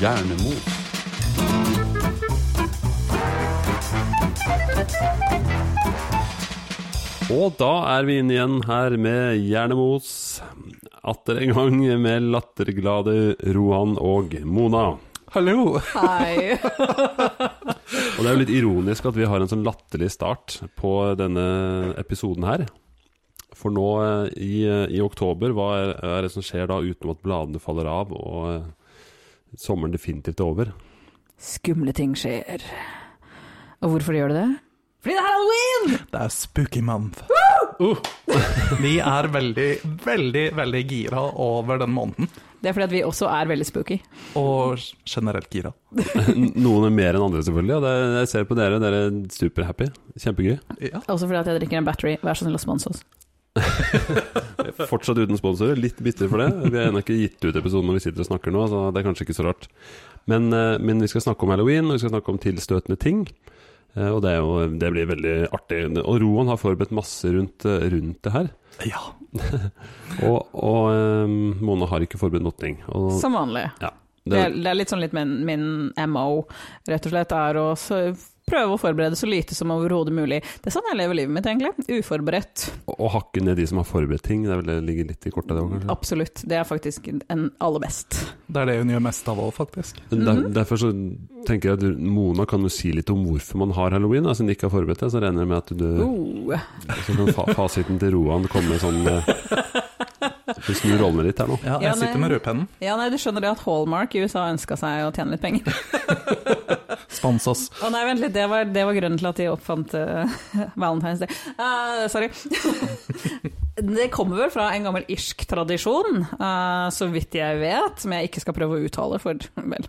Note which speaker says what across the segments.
Speaker 1: Hjernemo. Og da er vi inne igjen her med Hjernemos. Atter en gang med latterglade Rohan og Mona.
Speaker 2: Hallo!
Speaker 3: Hei.
Speaker 1: Og det er jo litt ironisk at vi har en sånn latterlig start på denne episoden her. For nå eh, i, i oktober, hva er, er det som skjer da utenom at bladene faller av og eh, sommeren definitivt er over?
Speaker 3: Skumle ting skjer. Og hvorfor gjør det det? Fordi det er halloween!
Speaker 2: Det er spooky month. Uh. Vi er veldig, veldig, veldig gira over den måneden.
Speaker 3: Det er fordi at vi også er veldig spooky.
Speaker 2: Og generelt gira.
Speaker 1: Noen er mer enn andre, selvfølgelig. Og det, jeg ser på dere, dere er superhappy. Kjempegøy.
Speaker 2: Ja.
Speaker 3: Også fordi at jeg drikker en battery. Vær så snill å sponse oss.
Speaker 1: Fortsatt uten sponsorer, litt bitre for det. Vi har ennå ikke gitt ut episoden når vi sitter og snakker nå, så det er kanskje ikke så rart. Men, eh, men vi skal snakke om halloween, og vi skal snakke om tilstøtende ting. Eh, Og det, er jo, det blir veldig artig. Og Roan har forberedt masse rundt, eh, rundt det her.
Speaker 2: ja.
Speaker 1: Og, og eh, Mona har ikke forberedt noe. Og
Speaker 3: Som vanlig. Det
Speaker 1: det,
Speaker 3: er, det er litt sånn litt min, min MO, rett og slett, er å så prøve å forberede så lite som overhodet mulig. Det er sånn jeg lever livet mitt, egentlig. Uforberedt.
Speaker 1: å hakke ned de som har forberedt ting, det er vel det ligger litt i kortet det òg, kanskje.
Speaker 3: Absolutt. Det er faktisk en aller best.
Speaker 2: Det er det hun gjør mest av òg, faktisk.
Speaker 1: Men der,
Speaker 3: Mhm.
Speaker 1: derfor så tenker jeg at Mona kan jo si litt om hvorfor man har halloween, da, siden de ikke har forberedt det. Så regner jeg med at du
Speaker 3: Uh.
Speaker 1: Så kan fa fasiten til Roan komme sånn eh, Vi snur rollene litt her nå.
Speaker 2: Ja,
Speaker 3: Ja,
Speaker 2: jeg sitter
Speaker 3: nei.
Speaker 2: med rødpennen.
Speaker 3: Ja, nei, du skjønner det at Hallmark i USA ønska seg å tjene litt penger.
Speaker 2: Spons oss.
Speaker 3: Å nei, vent litt, det var, det var grunnen til at de oppfant eh, Valentine's Day. Eh, sorry. det kommer vel fra en gammel irsk tradisjon, eh, så vidt jeg vet, som jeg ikke skal prøve å uttale, for vel,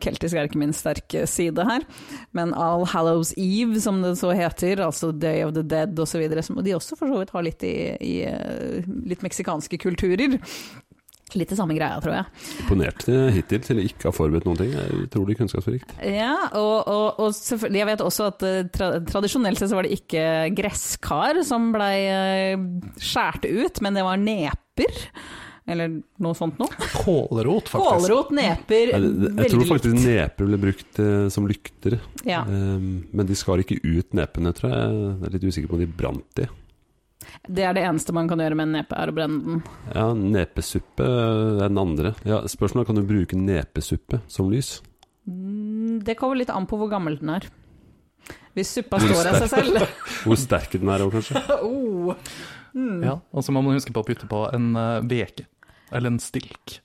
Speaker 3: keltisk er ikke min sterke side her. Men All Hallows Eve, som det så heter, altså Day of the Dead osv., som de også for så vidt har litt i, i eh, litt meksikanske kulturer. Litt det samme greia, tror jeg.
Speaker 1: Imponert eh, hittil til å ikke ha forberedt noen ting. Det er utrolig kunnskapsrikt.
Speaker 3: Ja, og, og, og selvfølgelig, jeg vet også at eh, tra tradisjonelt sett så var det ikke gresskar som blei eh, skjært ut, men det var neper. Eller noe sånt noe.
Speaker 2: Kålrot, faktisk.
Speaker 3: Kålrot, neper,
Speaker 1: Jeg, jeg tror
Speaker 3: veldig
Speaker 1: faktisk
Speaker 3: likt.
Speaker 1: neper ble brukt eh, som lykter,
Speaker 3: Ja.
Speaker 1: Ehm, men de skar ikke ut nepene, tror jeg. Jeg er litt usikker på om de brant de.
Speaker 3: Det er det eneste man kan gjøre med en nepe, er å brenne den.
Speaker 1: Ja, nepesuppe eh, er den andre. Ja, spørsmålet er, kan du bruke nepesuppe som lys?
Speaker 3: Mm, Det kommer litt an på hvor gammel den er. Hvis suppa står av seg selv.
Speaker 1: Hvor sterk den er òg, kanskje.
Speaker 3: oh.
Speaker 2: Ja, og så må man huske på å putte på en eh, veke. Eller en stilk.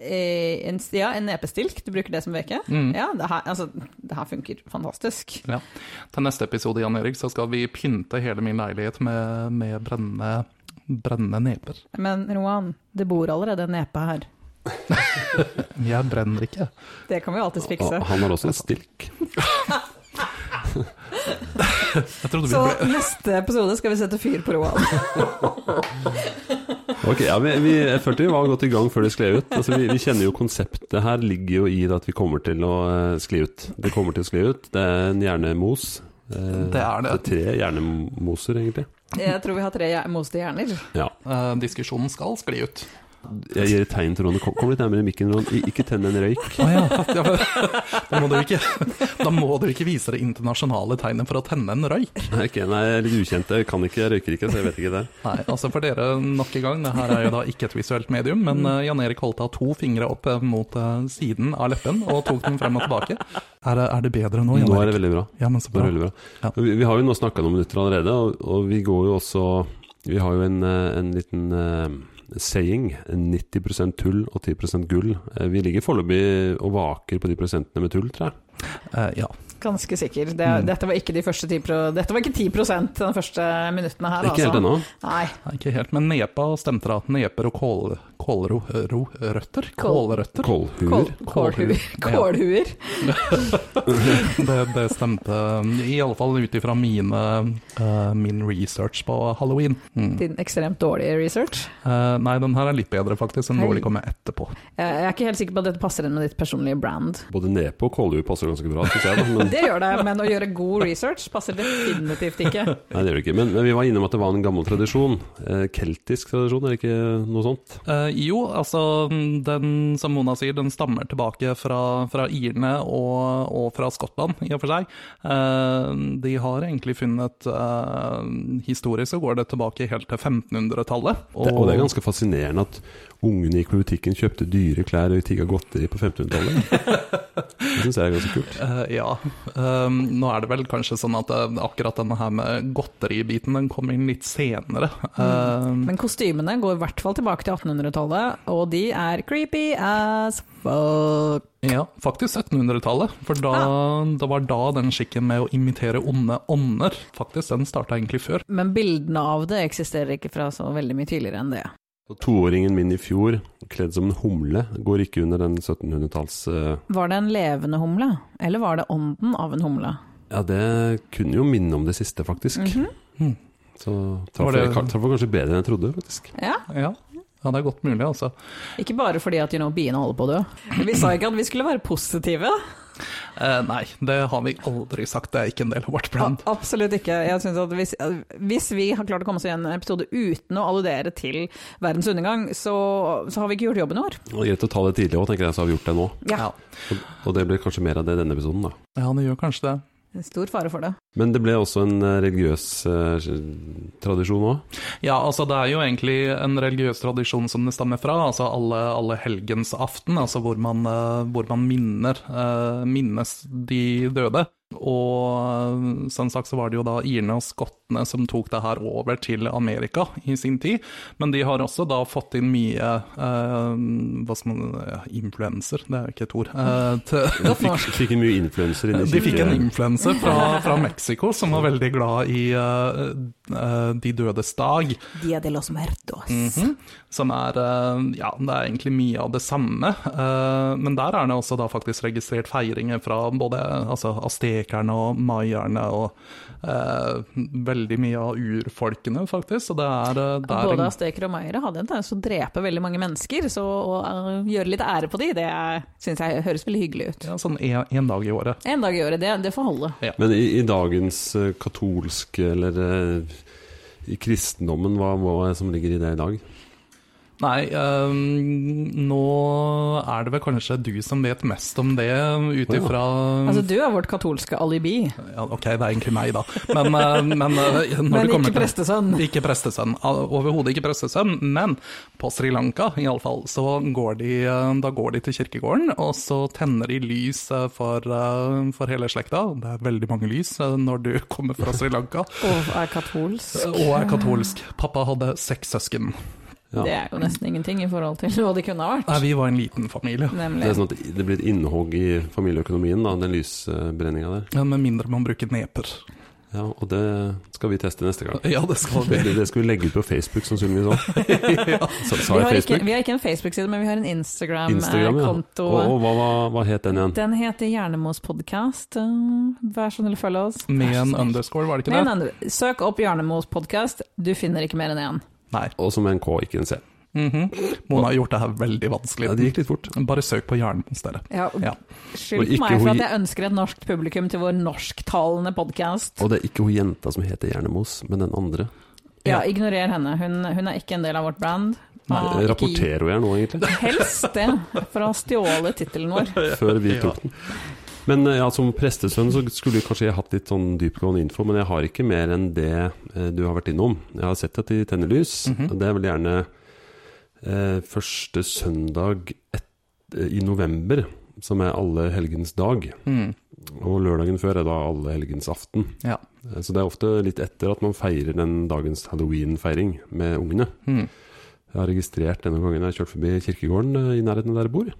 Speaker 3: Eh, en, ja, en nepestilk, du bruker det som veke.
Speaker 2: Mm.
Speaker 3: Ja, det her, altså, det her funker fantastisk.
Speaker 2: Ja. Til neste episode, Jan Erik, så skal vi pynte hele min leilighet med, med brennende, brennende neper.
Speaker 3: Men Roan, det bor allerede en nepe her.
Speaker 2: Jeg brenner ikke.
Speaker 3: Det kan vi alltids
Speaker 1: Og
Speaker 3: fikse.
Speaker 1: han har også en stilk.
Speaker 2: Jeg trodde vi
Speaker 3: Så
Speaker 2: ble
Speaker 3: neste episode skal vi sette fyr på Roald.
Speaker 1: Ok, ja, vi, vi, Jeg følte vi var godt i gang før det skled ut. Altså, vi, vi kjenner jo konseptet her ligger jo i det at vi kommer til å eh, skli ut. Det kommer til å skli ut. Det er en hjernemos. Eh,
Speaker 2: Det er det.
Speaker 1: Det er tre hjernemoser, egentlig.
Speaker 3: Jeg tror vi har tre hjer- moste hjerner.
Speaker 1: Ja.
Speaker 2: Eh, diskusjonen skal skli ut.
Speaker 1: Jeg gir et tegn til Ron. Kom, kom litt nærmere mikken, Ron. I- Ikke tenn en røyk.
Speaker 2: Å ja. ja men, da, må du ikke, da må du ikke vise det internasjonale tegnet for å tenne en røyk.
Speaker 1: Nei, ok, nei, jeg er litt ukjent. Jeg kan ikke, jeg røyker ikke, så jeg vet ikke det.
Speaker 2: Nei, altså for dere nok en gang, det her er jo da ikke et visuelt medium, men eh, Jan Erik holdt av to fingre opp eh, mot eh, siden av leppen og tok den frem og tilbake. Er, det- er det bedre nå, Jan
Speaker 1: Nå er
Speaker 2: Erik?
Speaker 1: det veldig bra.
Speaker 2: Ja, men så
Speaker 1: Det var
Speaker 2: bra.
Speaker 1: veldig bra.
Speaker 2: Ja.
Speaker 1: Vi, vi har jo nå snakka noen minutter allerede, og, og vi går jo også Vi har jo en, eh, en liten eh, saying 90 tull og 10 gull. Eh, Vi ligger foreløpig og vaker på de prosentene med tull, tror jeg.
Speaker 2: Eh, ja.
Speaker 3: Ganske sikker. Det,
Speaker 2: Mm.
Speaker 3: Dette var ikke de første 10 pro, Dette var ikke 10 de første minuttene her, altså.
Speaker 1: Ikke helt ennå.
Speaker 3: Nei.
Speaker 2: Nei, ikke helt, men nepa stemte da. Neper og kål, kålrøtter.
Speaker 3: Kål.
Speaker 2: Kålrøtter.
Speaker 1: Kålhuer.
Speaker 3: Kålhuer. Kålhuer.
Speaker 2: Det, det stemte, i alle fall ut ifra mine, eh, min research på halloween. Mm.
Speaker 3: Din ekstremt dårlige research.
Speaker 2: Eh, nei, den her er litt bedre faktisk, enn
Speaker 3: Hei.
Speaker 2: noe de kommer etterpå.
Speaker 3: Jeg er ikke helt sikker på at dette passer inn med ditt personlige brand.
Speaker 1: Både nepe og kålhue passer ganske bra, synes jeg. Da. Men,
Speaker 3: Det gjør det, men å gjøre god research passer definitivt ikke.
Speaker 1: nei, det gjør det ikke. Men, men vi var innom at det var en gammel tradisjon. Eh, keltisk tradisjon, er det ikke noe sånt?
Speaker 2: Eh, jo, altså den, som Mona sier, den stammer tilbake fra, fra irene og, og fra Skottland, i og for seg. Eh, de har egentlig funnet eh, Historisk så går det tilbake helt til 1500-tallet.
Speaker 1: Det, og det er ganske fascinerende at ungene gikk på butikken, kjøpte dyre klær og tigga godteri på 1500-tallet. Det syns jeg er ganske kult.
Speaker 2: Eh, ja. Eh, nå er det vel kanskje sånn at eh, akkurat denne her med godteribiten den kom inn litt senere. Eh,
Speaker 3: Men kostymene går i hvert fall tilbake til 1800-tallet, og de er creepy as fuck.
Speaker 2: ja, faktisk 1700-tallet. For da, det var da den skikken med å imitere onde ånder, faktisk, den starta egentlig før.
Speaker 3: Men bildene av det eksisterer ikke fra så veldig mye tidligere enn det.
Speaker 1: Og Toåringen min i fjor, kledd som en humle, går ikke under den 1700-talls... eh,
Speaker 3: Var det en levende humle, eller var det ånden av en humle?
Speaker 1: Ja, det kunne jo minne om det siste, faktisk.
Speaker 2: Mhm.
Speaker 1: Så traff
Speaker 2: Var det-
Speaker 1: jeg traff jeg kanskje bedre enn jeg trodde, faktisk.
Speaker 3: Ja,
Speaker 2: Ja, ja det er godt mulig, altså.
Speaker 3: ikke bare fordi at you know, biene holder på å dø. Vi sa ikke at vi skulle være positive.
Speaker 2: Eh, nei, det har vi aldri sagt, det er ikke en del av vårt brand.
Speaker 3: A- Absolutt ikke. Jeg synes at hvis, hvis vi har klart å komme oss i en episode uten å alludere til verdens undergang, så, så har vi ikke gjort jobben vår.
Speaker 1: Og Greit å ta det tidlig òg, tenker jeg, så har vi gjort det nå.
Speaker 3: Ja.
Speaker 1: Og- Og det blir kanskje mer av det i denne episoden, da.
Speaker 2: Ja, det gjør kanskje det.
Speaker 3: En Stor fare for det.
Speaker 1: Men det ble også en eh, religiøs eh, tradisjon òg.
Speaker 2: Ja, altså det er jo egentlig en religiøs tradisjon som det stammer fra, altså alle, alle helgens aften, altså hvor man, eh, hvor man minner, eh, minnes de døde. Og eh, som sagt så var det jo da irene og skottene som tok det her over til Amerika i sin tid, men de har også da fått inn mye eh, hva skal man, ja, influenser, det er jo ikke et ord, eh, til,
Speaker 1: De fikk, fikk mye influenser inn i
Speaker 2: De fikk en
Speaker 1: kirke-
Speaker 2: influenser fra, fra Mexico som var veldig glad i eh, eh, De dødes dag,
Speaker 3: Dia de los muertos.
Speaker 2: Mhm. som er eh, Ja, det er egentlig mye av det samme, eh, men der er det også da faktisk registrert feiringer fra både altså, aztekerne og mayaerne og eh, veldig mye av urfolkene, faktisk. Og det er, eh, det er
Speaker 3: Både
Speaker 2: en,
Speaker 3: azteker og mayere hadde en tendens til å drepe veldig mange mennesker, så å eh, gjøre litt ære på de, det syns jeg høres veldig hyggelig ut.
Speaker 2: ja, sånn en, en dag i året.
Speaker 3: En dag i året, det, det får holde.
Speaker 1: Men i, i dagens eh, katolske, eller eh, i kristendommen, hva, hva er det som ligger i det i dag?
Speaker 2: Nei, ehm, nå er det vel kanskje du som vet mest om det, ut
Speaker 1: Å ja.
Speaker 2: ifra
Speaker 3: Altså, du er vårt katolske alibi,
Speaker 2: ja, Ok, det er egentlig meg, da. Men, eh, men eh, når
Speaker 3: men
Speaker 2: det kommer
Speaker 3: ikke
Speaker 2: til
Speaker 3: prestesønn.
Speaker 2: ikke prestesønn. Al- Overhodet ikke prestesønn, men på Sri Lanka iallfall, så går de, eh, da går de til kirkegården, og så tenner de lys eh, for, eh, for hele slekta. Det er veldig mange lys eh, når du kommer fra Sri Lanka
Speaker 3: Og er katolsk.
Speaker 2: eh, og er katolsk. Pappa hadde seks søsken.
Speaker 1: Ja.
Speaker 3: Det er jo nesten ingenting i forhold til hva det kunne ha vært.
Speaker 2: Nei, vi var en liten familie.
Speaker 1: Det er
Speaker 3: Nemlig.
Speaker 1: sånn at det blir et innhogg i familieøkonomien, da, den lysbrenninga der.
Speaker 2: Ja, Med mindre man bruker neper.
Speaker 1: Ja, og det skal vi teste neste gang.
Speaker 2: Ja, det skal vi.
Speaker 1: Det, det skal vi legge ut på Facebook, sannsynligvis òg. Sa sa
Speaker 3: Vi
Speaker 1: jeg
Speaker 3: har, ikke, eh,
Speaker 1: Facebook?
Speaker 3: vi har ikke en Facebook-side, men vi har en
Speaker 1: Instagram, ja.
Speaker 3: Instagram-konto.
Speaker 1: Og, og hva, hva- hva het den igjen?
Speaker 3: Den heter Hjernemos podcast. Uh, Vær så snill å følge oss.
Speaker 2: Med
Speaker 3: Vær så
Speaker 2: en
Speaker 3: snill.
Speaker 2: underscore, var det ikke
Speaker 3: Med en
Speaker 2: det?
Speaker 3: under- Søk opp Hjernemos podcast, du finner ikke mer enn én.
Speaker 2: Nei.
Speaker 1: Og som en K, ikke en C.
Speaker 2: Mhm. Mona har gjort det her veldig
Speaker 1: Ja, det
Speaker 2: vanskelig.
Speaker 1: gikk litt fort.
Speaker 2: Bare søk på Jernmos, dere.
Speaker 3: Ja,
Speaker 2: Ja.
Speaker 1: Og
Speaker 3: Skyld
Speaker 1: ikke
Speaker 3: på meg for
Speaker 1: hoi-
Speaker 3: at jeg ønsker et norsk publikum til vår norsktalende podkast.
Speaker 1: Og det er ikke hun jenta som heter Hjernemos, men den andre.
Speaker 3: Ja, ignorer henne. Hun, hun er ikke en del av vårt brand. Ah,
Speaker 1: Eh, Rapporterer hun her nå, egentlig?
Speaker 3: ikke- Helst det, for å stjåle tittelen vår.
Speaker 1: Før vi tok den. Men eh, ja, som prestesønn så skulle jeg kanskje jeg hatt litt sånn dypgående info, men jeg har ikke mer enn det eh, du har vært innom. Jeg har sett at de tenner lys,
Speaker 2: Mhm.
Speaker 1: og det er vel gjerne eh, første søndag et, eh, i november, som er alle helgens dag.
Speaker 2: Mm.
Speaker 1: Og lørdagen før er da alle helgens aften.
Speaker 2: Ja.
Speaker 1: Eh, Så det er ofte litt etter at man feirer den dagens halloween-feiring med ungene.
Speaker 2: Mm.
Speaker 1: Jeg har registrert denne gangen jeg har kjørt forbi kirkegården eh, i nærheten av der jeg bor,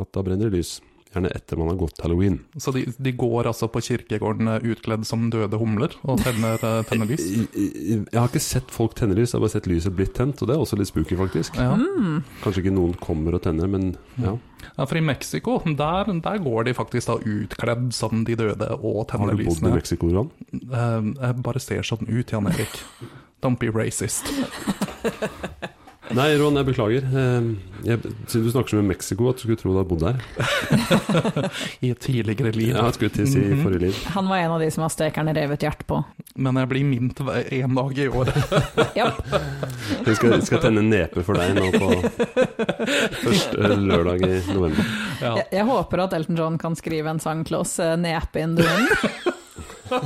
Speaker 1: at da brenner det lys. Jeg gjerne etter man har gått halloween.
Speaker 2: Så de, de går altså på kirkegården eh, utkledd som døde humler og tenner, eh, tenner lys?
Speaker 1: I- i- i- Jeg har ikke sett folk tenne lys, jeg har bare sett lyset blitt tent, og det er også litt spooky, faktisk.
Speaker 2: Ja.
Speaker 3: Mm.
Speaker 1: Kanskje ikke noen kommer og tenner, men ja.
Speaker 2: ja, for i Mexico, der, der går de faktisk da utkledd som de døde og
Speaker 1: Har
Speaker 2: tenner
Speaker 1: du bodd i
Speaker 2: lysene.
Speaker 1: Mexico, Ron?
Speaker 2: Eh, Jeg bare ser sånn ut, Jan Erik. Don't be racist.
Speaker 1: Nei, Ron, jeg beklager. Eh, Jeg, siden du snakker som om Mexico, at du skulle tro du har bodd der.
Speaker 2: I et tidligere liv.
Speaker 1: Ja, jeg skulle til å si i forrige liv.
Speaker 3: Han var en av de som aztekerne revet hjert på.
Speaker 2: Men jeg blir mint hver- en dag i året.
Speaker 3: Japp.
Speaker 1: Jeg skal, skal tenne nepe for deg nå på første lørdag i november.
Speaker 2: Ja.
Speaker 3: Jeg, jeg håper at Elton John kan skrive en sang til oss, eh, 'Nepe in the wind'.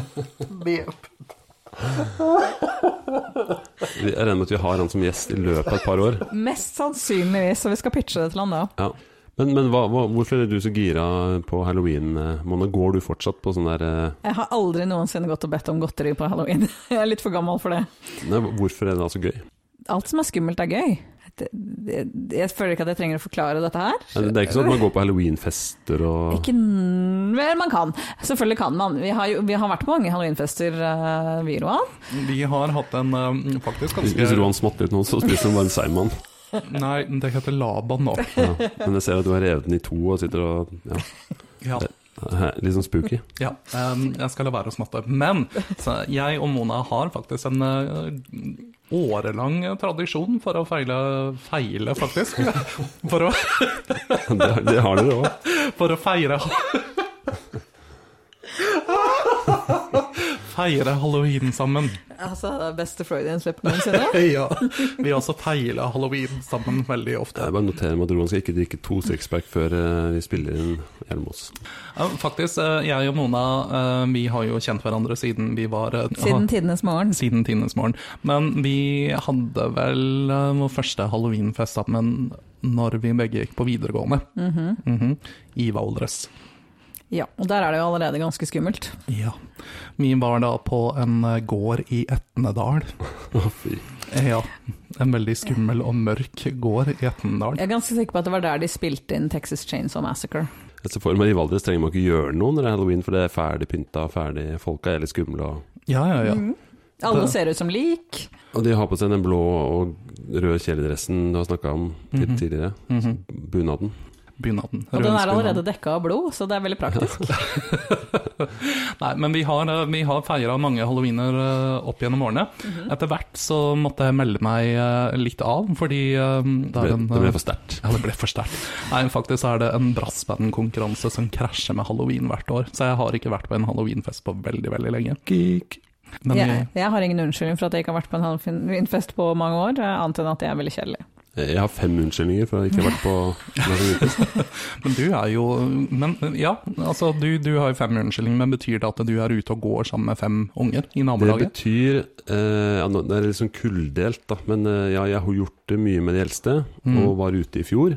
Speaker 1: Vi- Jeg regner med at vi har han som gjest i løpet av et par år.
Speaker 3: Mest sannsynligvis, så vi skal pitche det til han da.
Speaker 1: Ja. Men, men hva, hva, hvorfor er du så gira på halloween, eh, Mona? Går du fortsatt på sånn der eh,
Speaker 3: Jeg har aldri noensinne gått og bedt om godteri på halloween. Jeg er litt for gammel for det.
Speaker 1: Nei, hvorfor er det da så gøy?
Speaker 3: Alt som er skummelt, er gøy. Det, det, jeg føler ikke at jeg trenger å forklare dette her.
Speaker 1: Nei, Det det er ikke sånn at man går på halloweenfester og
Speaker 3: Ikke n- Vel, man kan. Selvfølgelig kan man. Vi har, jo, vi har vært på mange halloweenfester, uh, vi, Roan.
Speaker 2: Vi har hatt en eh, faktisk
Speaker 1: Hvis- Hvis
Speaker 2: ganske
Speaker 1: Roan smatter litt nå, så spiser han bare en seigmann.
Speaker 2: Nei, det heter Laban nå.
Speaker 1: Ja. Men jeg ser at du har revet den i to og sitter og ja.
Speaker 2: Ja.
Speaker 1: Hæ, Litt sånn spooky.
Speaker 2: Ja, em, jeg skal la være å smatte. Men så jeg og Mona har faktisk en eh, årelang tradisjon for å feile Feile, faktisk. For å,
Speaker 1: Det, har- det har dere òg.
Speaker 2: for å feire Feire halloween sammen.
Speaker 3: Altså, det er beste Freudian slipp noensinne.
Speaker 2: Ja. Vi har også feila halloween sammen veldig ofte.
Speaker 1: Jeg bare noterer meg at Roan skal ikke drikke to sixpack før eh, vi spiller inn Hjelmås.
Speaker 2: Ja, Faktisk, eh, jeg og Mona eh, vi har jo kjent hverandre siden vi var eh,
Speaker 3: Siden tidenes morgen.
Speaker 2: siden tidenes morgen. Men vi hadde vel eh, vår første halloweenfest sammen når vi begge gikk på videregående. Mhm. I Valdres.
Speaker 3: Ja, og der er det jo allerede ganske skummelt.
Speaker 2: Ja. Vi var da på en eh, gård i Etnedal.
Speaker 1: Å, fy.
Speaker 2: Eh, Ja, en veldig skummel og mørk gård i Etnedal.
Speaker 3: Jeg er ganske sikker på at det var der de spilte inn Texas Chainsaw Massacre.
Speaker 1: Jeg ser for meg I Valdres trenger man ikke gjøre noe når det er halloween, for det er ferdig pynta, ferdig Folka er litt skumle. Og,
Speaker 2: Ja, ja, ja.
Speaker 3: Mhm. Alle ser ut som lik.
Speaker 1: og de har på seg den blå og røde kjeledressen du har snakka om litt
Speaker 2: Mhm.
Speaker 1: tidligere. Bunaden.
Speaker 3: Og
Speaker 2: Bunaden.
Speaker 3: den er
Speaker 2: rødhetsbunaden.
Speaker 3: allerede dekka av blod, så det er veldig praktisk.
Speaker 2: Nei, men vi har, eh, vi har feira mange halloweener eh, opp gjennom årene.
Speaker 3: Mhm.
Speaker 2: Etter hvert så måtte jeg melde meg eh, litt av, fordi eh,
Speaker 1: Det
Speaker 2: er
Speaker 1: ble,
Speaker 2: en,
Speaker 1: det
Speaker 2: eh,
Speaker 1: ble for sterkt.
Speaker 2: Ja, det ble for sterkt. Nei, faktisk er det en brassbandkonkurranse som krasjer med halloween hvert år, så jeg har ikke vært på en halloweenfest på veldig, veldig lenge. Geek. Men eh, vi,
Speaker 3: Jeg, jeg har ingen unnskyldning for at jeg ikke har vært på en halloweenfest på mange år, eh, annet enn at jeg er veldig kjedelig.
Speaker 1: Jeg har fem unnskyldninger for at jeg ikke har vært på halloweenfest.
Speaker 2: men du er jo Men ja, altså, du, du har jo fem unnskyldninger, men betyr det at du er ute og går sammen med fem unger i
Speaker 1: Det
Speaker 2: nabolaget?
Speaker 1: betyr eh, ja, nå- Det er litt sånn kulldelt, da. Men eh, ja, jeg har gjort det mye med de eldste,
Speaker 2: Mm.
Speaker 1: og var ute i fjor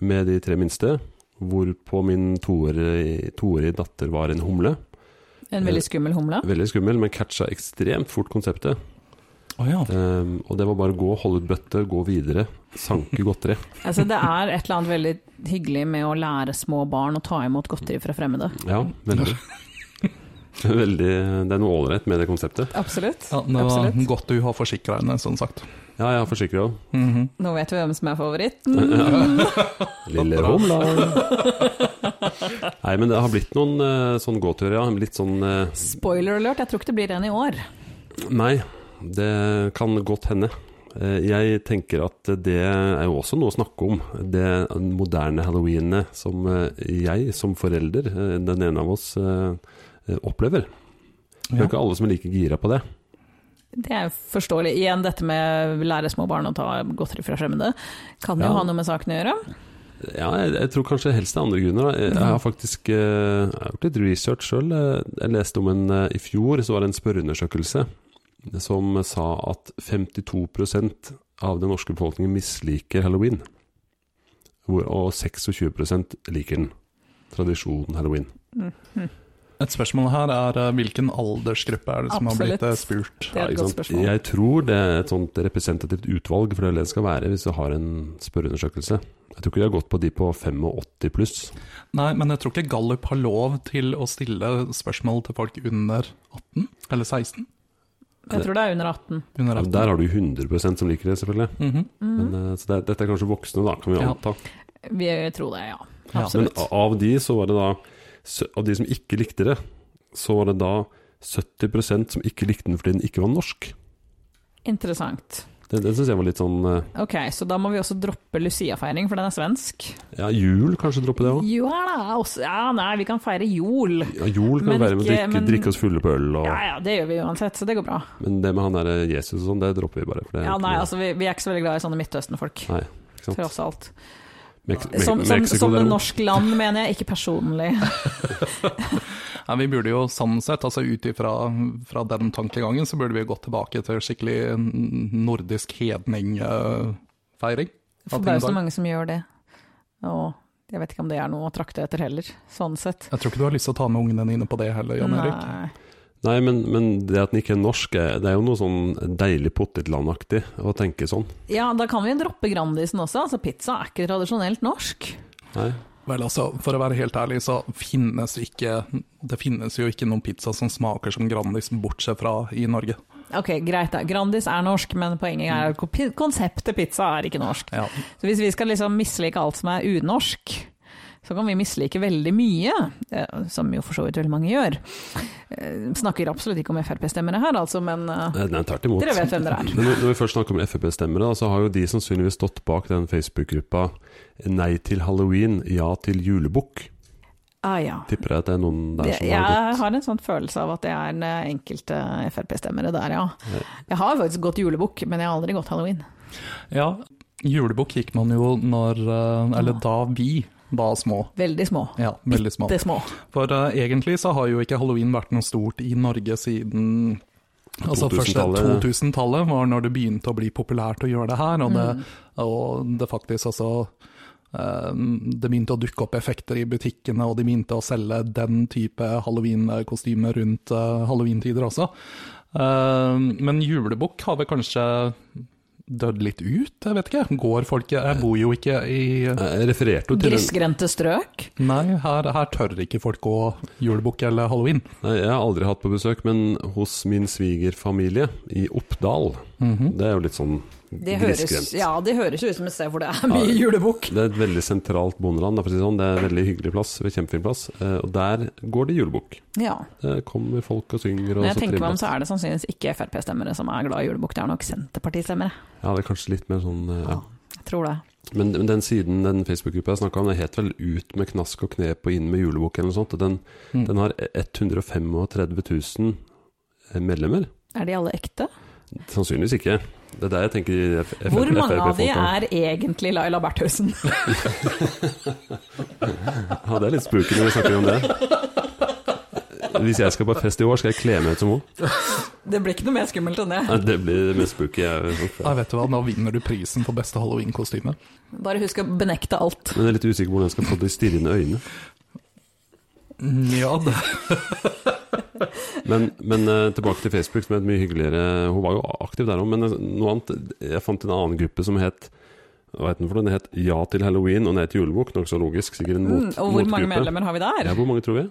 Speaker 1: med de tre minste. Hvorpå min toårige toårige datter var en humle.
Speaker 3: En veldig skummel humle.
Speaker 1: Veldig skummel, men catcha ekstremt fort konseptet.
Speaker 2: Å ja.
Speaker 1: Ehm, og det var bare å gå, holde ut bøtte, gå videre, sanke godteri.
Speaker 3: Altså, det er et eller annet veldig hyggelig med å lære små barn å ta imot godteri fra fremmede.
Speaker 1: Ja, veldig. veldig det er noe ålreit med det konseptet.
Speaker 3: Absolutt.
Speaker 2: ja. Det var
Speaker 3: Absolutt.
Speaker 2: godt du har forsikra henne, sånn sagt.
Speaker 1: Ja, jeg har forsikra òg.
Speaker 2: Mhm.
Speaker 3: Nå vet vi hvem som er favoritt.
Speaker 1: Lille Humla. Nei, men det har blitt noen eh, sånn gåturer, ja. Litt sånn eh,
Speaker 3: Spoiler alert, jeg tror ikke det blir en i år.
Speaker 1: Nei, det kan godt hende. Eh, Jeg tenker at det er jo også noe å snakke om. Det moderne halloweenet som eh, jeg som forelder, eh, den ene av oss, eh, eh, opplever. Det
Speaker 2: Ja.
Speaker 1: er ikke alle som er like gira på det.
Speaker 3: Det er forståelig. Igjen dette med lære små barn å ta godteri fra fremmede. Kan jo
Speaker 1: Ja.
Speaker 3: ha noe med saken å gjøre.
Speaker 1: Ja, jeg, jeg tror kanskje helst det er andre grunner. Da. Jeg, jeg
Speaker 3: Mhm.
Speaker 1: har faktisk eh, jeg har gjort litt research sjøl. Jeg leste om en eh, i fjor, så var det en spørreundersøkelse som sa at 52 av den norske befolkningen misliker halloween. Hvor, og 26 liker den. Tradisjonen halloween.
Speaker 2: Et spørsmål her er eh, hvilken aldersgruppe er det som har blitt eh, spurt?
Speaker 3: Det er et
Speaker 1: ikke
Speaker 3: godt
Speaker 1: sant?
Speaker 3: spørsmål.
Speaker 1: Jeg tror det er et sånt representativt utvalg, for det er det det skal være hvis du har en spørreundersøkelse. Jeg tror ikke de har gått på de på 85 pluss.
Speaker 2: Nei, men jeg tror ikke Gallup har lov til å stille spørsmål til folk under 18 eller 16.
Speaker 3: Jeg tror det er under 18.
Speaker 2: Under 18.
Speaker 1: Der har du 100 som liker det, selvfølgelig.
Speaker 2: Mhm.
Speaker 3: Mm.
Speaker 1: Men, eh, så det, dette er kanskje voksne, da, kan vi
Speaker 2: Ja.
Speaker 1: anta.
Speaker 3: Vi tror det, ja.
Speaker 2: Ja,
Speaker 1: Men ah.
Speaker 3: Absolutt.
Speaker 1: a- av de så var det da sø- Av de som ikke likte det, så var det da 70 som ikke likte den fordi den ikke var norsk.
Speaker 3: Interessant.
Speaker 1: Det, det syns jeg var litt sånn eh,
Speaker 3: Ok, så da må vi også droppe Lucia-feiring, for den er svensk.
Speaker 1: Ja, jul, kanskje droppe det òg.
Speaker 3: Jul er også Ja, nei, vi kan feire jul.
Speaker 1: Ja, jul kan
Speaker 3: Men
Speaker 1: være med å
Speaker 3: ikke-
Speaker 1: drikke,
Speaker 3: men-
Speaker 1: drikke oss fulle på øl, og,
Speaker 3: Ja ja, det gjør vi uansett, så det går bra.
Speaker 1: men det med han derre Jesus og sånn, det dropper vi bare. For det,
Speaker 3: Ja, nei, altså, vi, vi er ikke så veldig glad i sånne Midtøsten-folk,
Speaker 1: Nei, ikke sant.
Speaker 3: tross alt.
Speaker 1: Mex
Speaker 3: Som, som,
Speaker 1: Mexico,
Speaker 3: som
Speaker 1: derimot.
Speaker 3: norsk land, mener jeg, ikke personlig.
Speaker 2: Nei, vi burde jo sånn sett, altså ut ifra fra den tankegangen, så burde vi jo gått tilbake til skikkelig n- nordisk hedningfeiring.
Speaker 3: Forbausende mange som gjør det. Og jeg vet ikke om det er noe å trakte etter heller, sånn sett.
Speaker 2: Jeg tror ikke du har lyst til å ta med ungene dine på det heller, Jan Erik.
Speaker 3: Nei.
Speaker 1: Nei, men, men det at den ikke er norsk, er- det er jo noe sånn deilig potetlandaktig å tenke sånn.
Speaker 3: Ja, da kan vi droppe Grandisen også. Altså, pizza er ikke tradisjonelt norsk.
Speaker 1: Nei.
Speaker 2: Vel, altså, for å være helt ærlig, så finnes ikke Det finnes jo ikke noen pizza som smaker som Grandis, bortsett fra i Norge.
Speaker 3: Ok, greit da. Grandis er norsk, men poenget er at kopi- konseptet pizza er ikke norsk.
Speaker 2: Ja.
Speaker 3: Så hvis vi skal liksom mislike alt som er unorsk, så kan vi mislike veldig mye, eh, som jo for så vidt veldig mange gjør. Eh, Snakker absolutt ikke om Frp-stemmere her, altså, men eh,
Speaker 1: Eh, Nei, tvert imot.
Speaker 3: dere vet hvem dere er.
Speaker 1: Men når når vi først snakker om Frp-stemmere, da, så har jo de sannsynligvis stått bak den Facebook-gruppa Nei til halloween, ja til julebukk.
Speaker 3: Ah, ja.
Speaker 1: Tipper jeg at det er noen der
Speaker 3: Det,
Speaker 1: som
Speaker 3: jeg
Speaker 1: har gått
Speaker 3: har en sånn følelse av at det er en eh, enkelte Frp-stemmere der, ja. Jeg har faktisk gått julebukk, men jeg har aldri gått halloween.
Speaker 2: ja. Julebukk gikk man jo når eh, Eller da vi var små.
Speaker 3: Veldig små.
Speaker 2: Ja, veldig små.
Speaker 3: Det er små.
Speaker 2: For eh, egentlig så har jo ikke halloween vært noe stort i Norge siden Altså
Speaker 1: 2000-tallet.
Speaker 2: 2000-tallet 2000 var når det begynte å bli populært å gjøre det her, og det,
Speaker 3: Mm.
Speaker 1: Mm.
Speaker 2: og det faktisk altså eh, det begynte å dukke opp effekter i butikkene, og de begynte å selge den type halloween-kostymer rundt eh, halloween-tider også. Eh, men julebukk har vel kanskje dødd litt ut, jeg vet ikke. Går folk Jeg bor jo ikke i
Speaker 1: Eh, Jeg refererte jo til den.
Speaker 3: Grisgrendte strøk.
Speaker 2: Nei, her, her tør ikke folk gå julebukk eller halloween.
Speaker 1: Nei, jeg har aldri hatt på besøk, men hos min svigerfamilie i Oppdal.
Speaker 2: Mhm.
Speaker 1: Det er jo litt sånn
Speaker 3: Det høres,
Speaker 1: grisgrendt.
Speaker 3: ja, det høres jo ut som et sted hvor det er
Speaker 1: Ja,
Speaker 3: mye
Speaker 1: det-
Speaker 3: julebukk.
Speaker 1: Det er et veldig sentralt bondeland, da, for å si det sånn. Det er en veldig hyggelig plass, en kjempefin plass. Eh, Og der går det julebukk.
Speaker 3: Ja.
Speaker 1: Det kommer folk og synger og
Speaker 3: Når jeg
Speaker 1: så
Speaker 3: tenker meg om,
Speaker 1: trivelig.
Speaker 3: så er det sannsynligvis ikke Frp-stemmere som er glad i julebukk, det er nok Senterparti-stemmere.
Speaker 1: Ja, det er kanskje litt mer sånn eh, ja.
Speaker 3: Ja. Jeg tror det.
Speaker 1: Men, men den siden den Facebook-gruppa jeg snakka om, det het vel 'Ut med knask og knep og inn med julebukk' eller noe sånt. og Den,
Speaker 2: Mm.
Speaker 1: den har 135 000 eh, medlemmer.
Speaker 3: Er de alle ekte?
Speaker 1: Sannsynligvis ikke. Det er der jeg tenker de F- F-
Speaker 3: Hvor mange av de
Speaker 1: FrP-folka.
Speaker 3: er egentlig Laila Bertheussen?
Speaker 1: Ja, det er litt spooky når vi snakker om det. Hvis jeg skal på fest i år, skal jeg kle meg ut som henne.
Speaker 3: Det blir ikke noe mer skummelt enn det.
Speaker 1: Nei, Det blir det mest spooky jeg
Speaker 2: Nei, vet du hva, nå vinner du prisen for beste halloween-kostyme.
Speaker 3: Bare husk å benekte alt.
Speaker 1: Men jeg er litt usikker på hvordan jeg skal få de stirrende øynene.
Speaker 2: Ja, det,
Speaker 1: Men, men eh, tilbake til Facebook, som er et mye hyggeligere Hun var jo aktiv der òg, men eh, noe annet Jeg fant en annen gruppe som het hva het den for noe? Den het Ja til halloween og Nei til julebukk. Nokså logisk. Sikkert en mot,
Speaker 3: Mm, og hvor mange
Speaker 1: motgruppe.
Speaker 3: medlemmer har vi der?
Speaker 1: Ja, hvor mange tror vi?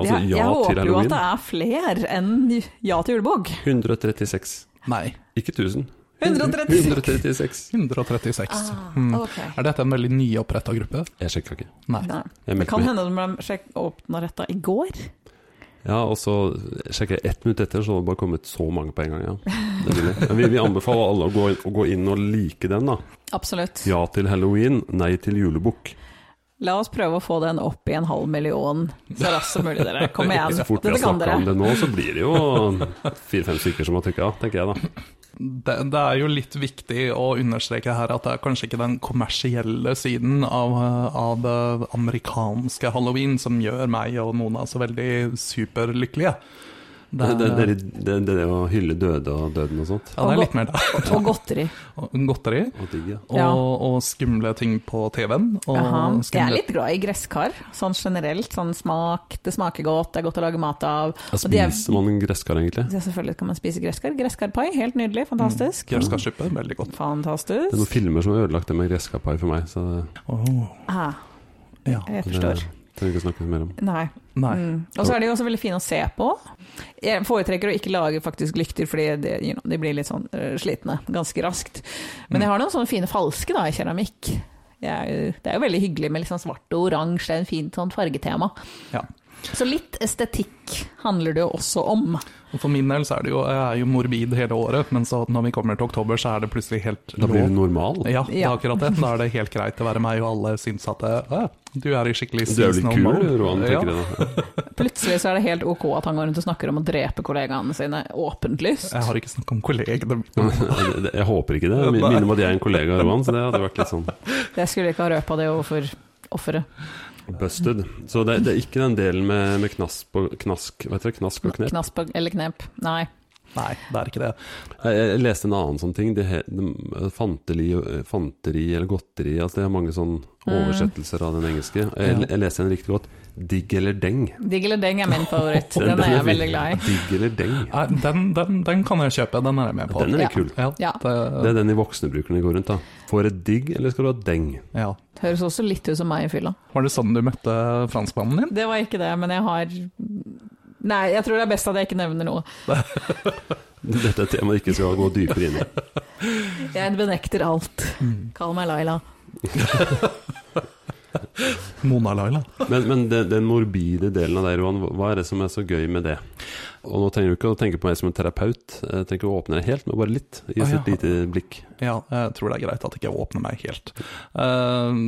Speaker 1: Altså
Speaker 3: jeg,
Speaker 1: Ja
Speaker 3: jeg
Speaker 1: til
Speaker 3: håper jo at
Speaker 1: halloween.
Speaker 3: det er flere enn Ja til julebukk.
Speaker 1: 136.
Speaker 2: nei,
Speaker 1: Ikke 1000.
Speaker 3: 136.
Speaker 1: 136.
Speaker 2: 136. Mm.
Speaker 3: Ah, ok.
Speaker 2: Er dette en veldig nyoppretta gruppe?
Speaker 1: Jeg sjekka ikke.
Speaker 2: Nei.
Speaker 3: Nei.
Speaker 1: Jeg
Speaker 3: Det
Speaker 1: meldte
Speaker 3: kan
Speaker 1: meg.
Speaker 3: hende de ble åpneretta i går.
Speaker 1: Ja, og så sjekker jeg ett minutt etter, så hadde det bare kommet så mange på en gang. Ja. Det vil jeg. Vi, vi anbefaler alle å gå, å gå inn og like den, da.
Speaker 3: Absolutt.
Speaker 1: Ja til halloween, nei til julebukk.
Speaker 3: La oss prøve å få den opp i en halv million så raskt som mulig, dere. Kom igjen.
Speaker 1: Så fort vi har
Speaker 3: Dette kan
Speaker 1: snakka om
Speaker 3: dere.
Speaker 1: det nå, så blir det jo fire-fem stykker som har trykka, tenker jeg da.
Speaker 2: Det, det er jo litt viktig å understreke her at det er kanskje ikke den kommersielle siden av, eh, av eh, amerikanske halloween som gjør meg og Mona så veldig superlykkelige.
Speaker 1: Det,
Speaker 2: Det
Speaker 1: det,
Speaker 2: er,
Speaker 1: det, det, det, det å hylle døde og døden og sånt.
Speaker 2: ja, det er litt mer det.
Speaker 3: Og godteri.
Speaker 2: Og Godteri
Speaker 1: Og digg, ja.
Speaker 2: og,
Speaker 3: Ja.
Speaker 2: og skumle ting på TV-en. Og
Speaker 3: Jaha. Jeg er
Speaker 2: skumle-
Speaker 3: litt glad i gresskar, sånn generelt. Sånn smak, det smaker godt, det er godt å lage mat av.
Speaker 1: Da
Speaker 3: Og de er-
Speaker 1: spiser man en gresskar, egentlig.
Speaker 3: Ja, selvfølgelig kan man spise gresskar. Gresskarpai, helt nydelig, fantastisk.
Speaker 2: Grøskarsuppe, veldig
Speaker 1: Mm. Det
Speaker 2: godt.
Speaker 1: er noen
Speaker 3: Fantastisk.
Speaker 1: filmer som har ødelagt det med gresskarpai for meg, så det,
Speaker 2: Åh,
Speaker 3: Ah,
Speaker 2: ja.
Speaker 3: jeg
Speaker 1: det
Speaker 3: forstår.
Speaker 1: trenger vi ikke snakke mer om.
Speaker 3: Nei.
Speaker 2: Nei.
Speaker 3: Mm. Og så er de jo også veldig fine å se på. Jeg foretrekker å ikke lage faktisk lykter, fordi det, you know, de blir litt sånn øh, slitne ganske raskt. Men jeg har noen sånne fine falske da, i keramikk. Jeg er jo, det er jo veldig hyggelig med litt sånn svart og oransje, det er en fint sånn fargetema.
Speaker 2: Ja.
Speaker 3: Så litt estetikk handler det jo også om.
Speaker 2: Og for min del så er det jo, jeg er jo morbid hele året, men så når vi kommer til oktober, så er det plutselig helt
Speaker 1: Da blir
Speaker 2: lov.
Speaker 1: du normal.
Speaker 2: Ja, det er
Speaker 3: Ja.
Speaker 2: akkurat det. Da er det helt greit å være meg, og alle syns at eh, du er i skikkelig
Speaker 1: Du er jo litt
Speaker 2: seasonal
Speaker 1: kul,
Speaker 2: mode.
Speaker 1: Roan,
Speaker 2: Ja.
Speaker 1: tenker jeg da.
Speaker 3: Plutselig så er det helt ok at han går rundt og snakker om å drepe kollegaene sine åpenlyst.
Speaker 2: Jeg har ikke snakket om kollegene mine.
Speaker 1: Det- det- Jeg håper ikke det. Jeg min- minner om at jeg er en kollega av Roan, så det hadde vært litt sånn
Speaker 3: Jeg skulle ikke ha røpa det overfor offeret.
Speaker 1: busted. Så det, det er ikke den delen med, med knask, på, knask, hva heter det, knask og knep.
Speaker 3: Knasp eller knep. Nei.
Speaker 2: Nei, det er ikke det.
Speaker 1: Jeg, jeg leste en annen sånn ting. Det he, de, fanteri, eh, fanteri eller godteri altså Det er mange sånn
Speaker 3: Mm.
Speaker 1: oversettelser av den engelske. Jeg,
Speaker 2: Ja.
Speaker 1: jeg leste en riktig godt. Digg eller deng.
Speaker 3: Digg eller deng er min favoritt. Den er jeg
Speaker 1: fin.
Speaker 3: veldig glad i.
Speaker 1: Digg eller deng.
Speaker 2: Nei, den, den, den kan jeg kjøpe, den er jeg med på.
Speaker 1: Den er
Speaker 3: Ja.
Speaker 1: litt kul.
Speaker 2: Ja,
Speaker 3: Ja.
Speaker 1: Det
Speaker 2: det,
Speaker 1: er den de voksne brukerne går rundt. da Får du et digg, eller skal du ha deng?
Speaker 2: ja.
Speaker 3: Høres også litt ut som meg i fylla.
Speaker 2: Var det sånn du møtte franskmannen din?
Speaker 3: Det var ikke det, men jeg har Nei, jeg tror det er best at jeg ikke nevner noe.
Speaker 1: Dette er et tema vi ikke skal gå dypere inn i.
Speaker 3: Jeg benekter alt.
Speaker 1: Mm.
Speaker 3: Kall meg Laila.
Speaker 2: Mona Laila.
Speaker 1: Men, men den, den morbide delen av deg, Roan, hva er det som er så gøy med det? Og nå trenger du ikke å tenke på meg som en terapeut. Jeg tenker å åpne deg helt, men bare litt. Gi
Speaker 2: Å,
Speaker 1: oss
Speaker 2: ja.
Speaker 1: et lite blikk.
Speaker 2: Ja, jeg tror det er greit at jeg ikke åpner meg helt. Eh,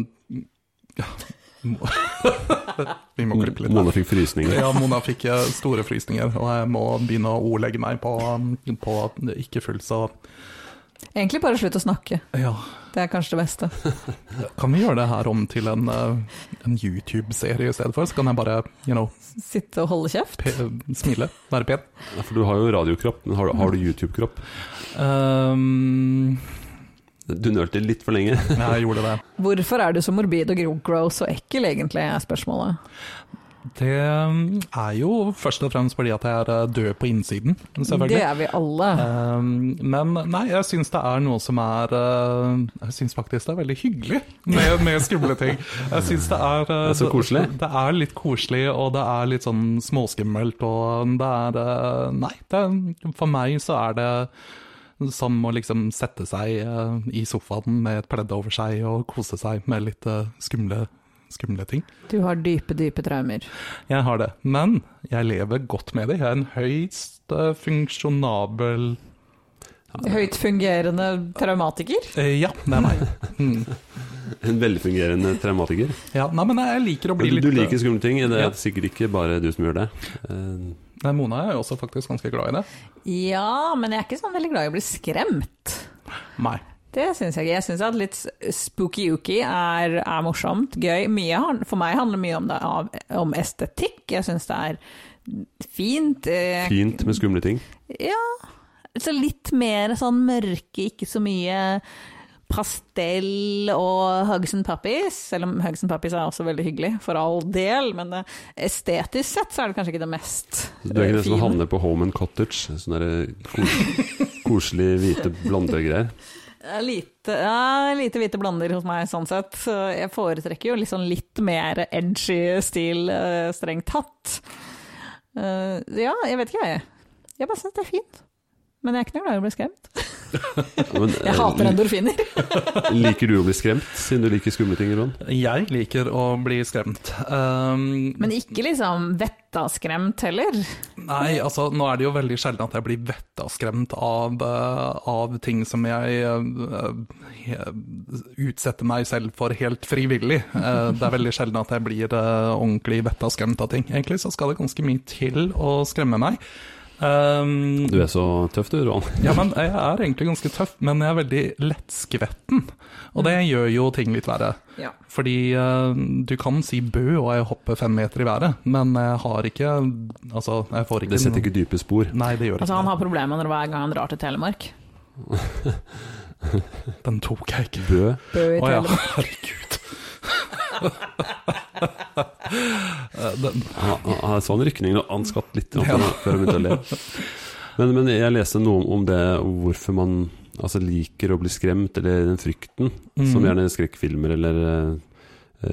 Speaker 2: må- Vi må klippe litt.
Speaker 1: Mona fikk frysninger.
Speaker 2: Ja, Mona fikk eh, store frysninger, og jeg må begynne å ordlegge meg på, på at det ikke fullt så
Speaker 3: Egentlig bare slutt å snakke.
Speaker 2: Ja,
Speaker 3: Det er kanskje det beste.
Speaker 2: kan vi gjøre det her om til en, eh, en YouTube-serie i stedet for? Så kan jeg bare, you know,
Speaker 3: Sitte og holde kjeft.
Speaker 2: pe smile, være pen.
Speaker 1: Ja, For du har jo radiokropp, men har, du- har du
Speaker 3: Mm.
Speaker 1: YouTube-kropp?
Speaker 2: Ehm,
Speaker 1: Du nølte litt for lenge.
Speaker 2: jeg gjorde det.
Speaker 3: Hvorfor er du så morbid og gro- gross og ekkel, egentlig, er spørsmålet.
Speaker 2: Det eh, er jo først og fremst fordi at jeg er eh, død på innsiden,
Speaker 3: Det
Speaker 2: selvfølgelig.
Speaker 3: er vi alle.
Speaker 2: Ehm, men nei, jeg syns det er noe som er eh, Jeg syns faktisk det er veldig hyggelig med, med skumle ting. Jeg syns det er eh,
Speaker 1: Det er så koselig.
Speaker 2: Det er litt koselig, og det er litt sånn småskummelt, og det er eh, Nei, det, for meg så er det som å liksom sette seg eh, i sofaen med et pledd over seg og kose seg med litt eh, skumle, skumle ting.
Speaker 3: Du har dype, dype traumer.
Speaker 2: Jeg har det, men jeg lever godt med det. Jeg er en høyst eh, funksjonabel
Speaker 3: Høyt fungerende traumatiker?
Speaker 2: eh, Ja, det er meg. Mm.
Speaker 1: En velfungerende traumatiker.
Speaker 2: Ja, nei, men jeg liker å bli
Speaker 1: Du,
Speaker 2: litt
Speaker 1: du liker skumle ting. Det
Speaker 2: Ja.
Speaker 1: er sikkert ikke bare du som gjør det. Eh,
Speaker 2: Nei, Mona er jo også faktisk ganske glad i det.
Speaker 3: Ja, men jeg er ikke sånn veldig glad i å bli skremt.
Speaker 2: Nei.
Speaker 3: Det syns jeg ikke. Jeg syns at litt spooky-ooky er, er morsomt, gøy. Mye, han- for meg handler mye om, det, av, om estetikk. Jeg syns det er fint. eh,
Speaker 1: Fint med skumle ting.
Speaker 3: Ja. Så litt mer sånn mørke, ikke så mye pastell og Hugs and Puppies. Selv om Hugs and Puppies er også veldig hyggelig, for all del. Men eh, estetisk sett så er det kanskje ikke det mest
Speaker 1: Du er
Speaker 3: eh,
Speaker 1: ikke den som
Speaker 3: fine.
Speaker 1: havner på Home and Cottage. Sånne der kos koselige, hvite blondegreier.
Speaker 3: Ja, Lite, ja, lite hvite blander hos meg, sånn sett. Så Jeg foretrekker jo liksom litt mer edgy stil, eh, strengt tatt. Eh, ja, jeg vet ikke, jeg. Jeg bare syns det er fint. Men jeg er ikke noe glad i å bli skremt.
Speaker 1: Men,
Speaker 3: Jeg hater endorfiner.
Speaker 1: eh, liker du å bli skremt, siden du liker skumle ting, Ron?
Speaker 2: Jeg liker å bli skremt. Um,
Speaker 3: Men ikke liksom vettaskremt heller.
Speaker 2: Nei, altså nå er det jo veldig sjelden at jeg blir vettaskremt av, eh, av ting som jeg eh, eh, utsetter meg selv for helt frivillig. Eh, det er veldig sjelden at jeg blir eh, ordentlig vettaskremt av ting. Egentlig så skal det ganske mye til å skremme meg. Um,
Speaker 1: Du er så tøff, du, Roan.
Speaker 2: Ja, men jeg er egentlig ganske tøff, men jeg er veldig lettskvetten. Og det
Speaker 3: Mm.
Speaker 2: gjør jo ting litt verre.
Speaker 3: Ja.
Speaker 2: Fordi eh, du kan si bø og jeg hopper fem meter i været, men jeg har ikke Altså, jeg får ikke
Speaker 1: Det setter
Speaker 2: noe-
Speaker 1: ikke dype spor.
Speaker 2: Nei, det gjør
Speaker 3: Altså,
Speaker 2: ikke
Speaker 3: han har problemer når hver gang han drar til Telemark.
Speaker 2: det. Den tok jeg ikke.
Speaker 1: Bø.
Speaker 3: Bø i
Speaker 2: Å ja,
Speaker 3: Telemark.
Speaker 2: herregud. Eh, den,
Speaker 1: Han han- han er sånn rykning og han skvatt litt i natten før han begynte å le. Men, men jeg leste noe om- om det hvorfor man altså, liker å bli skremt, eller den frykten, som
Speaker 2: Mm.
Speaker 1: gjerne skrekkfilmer eller eh,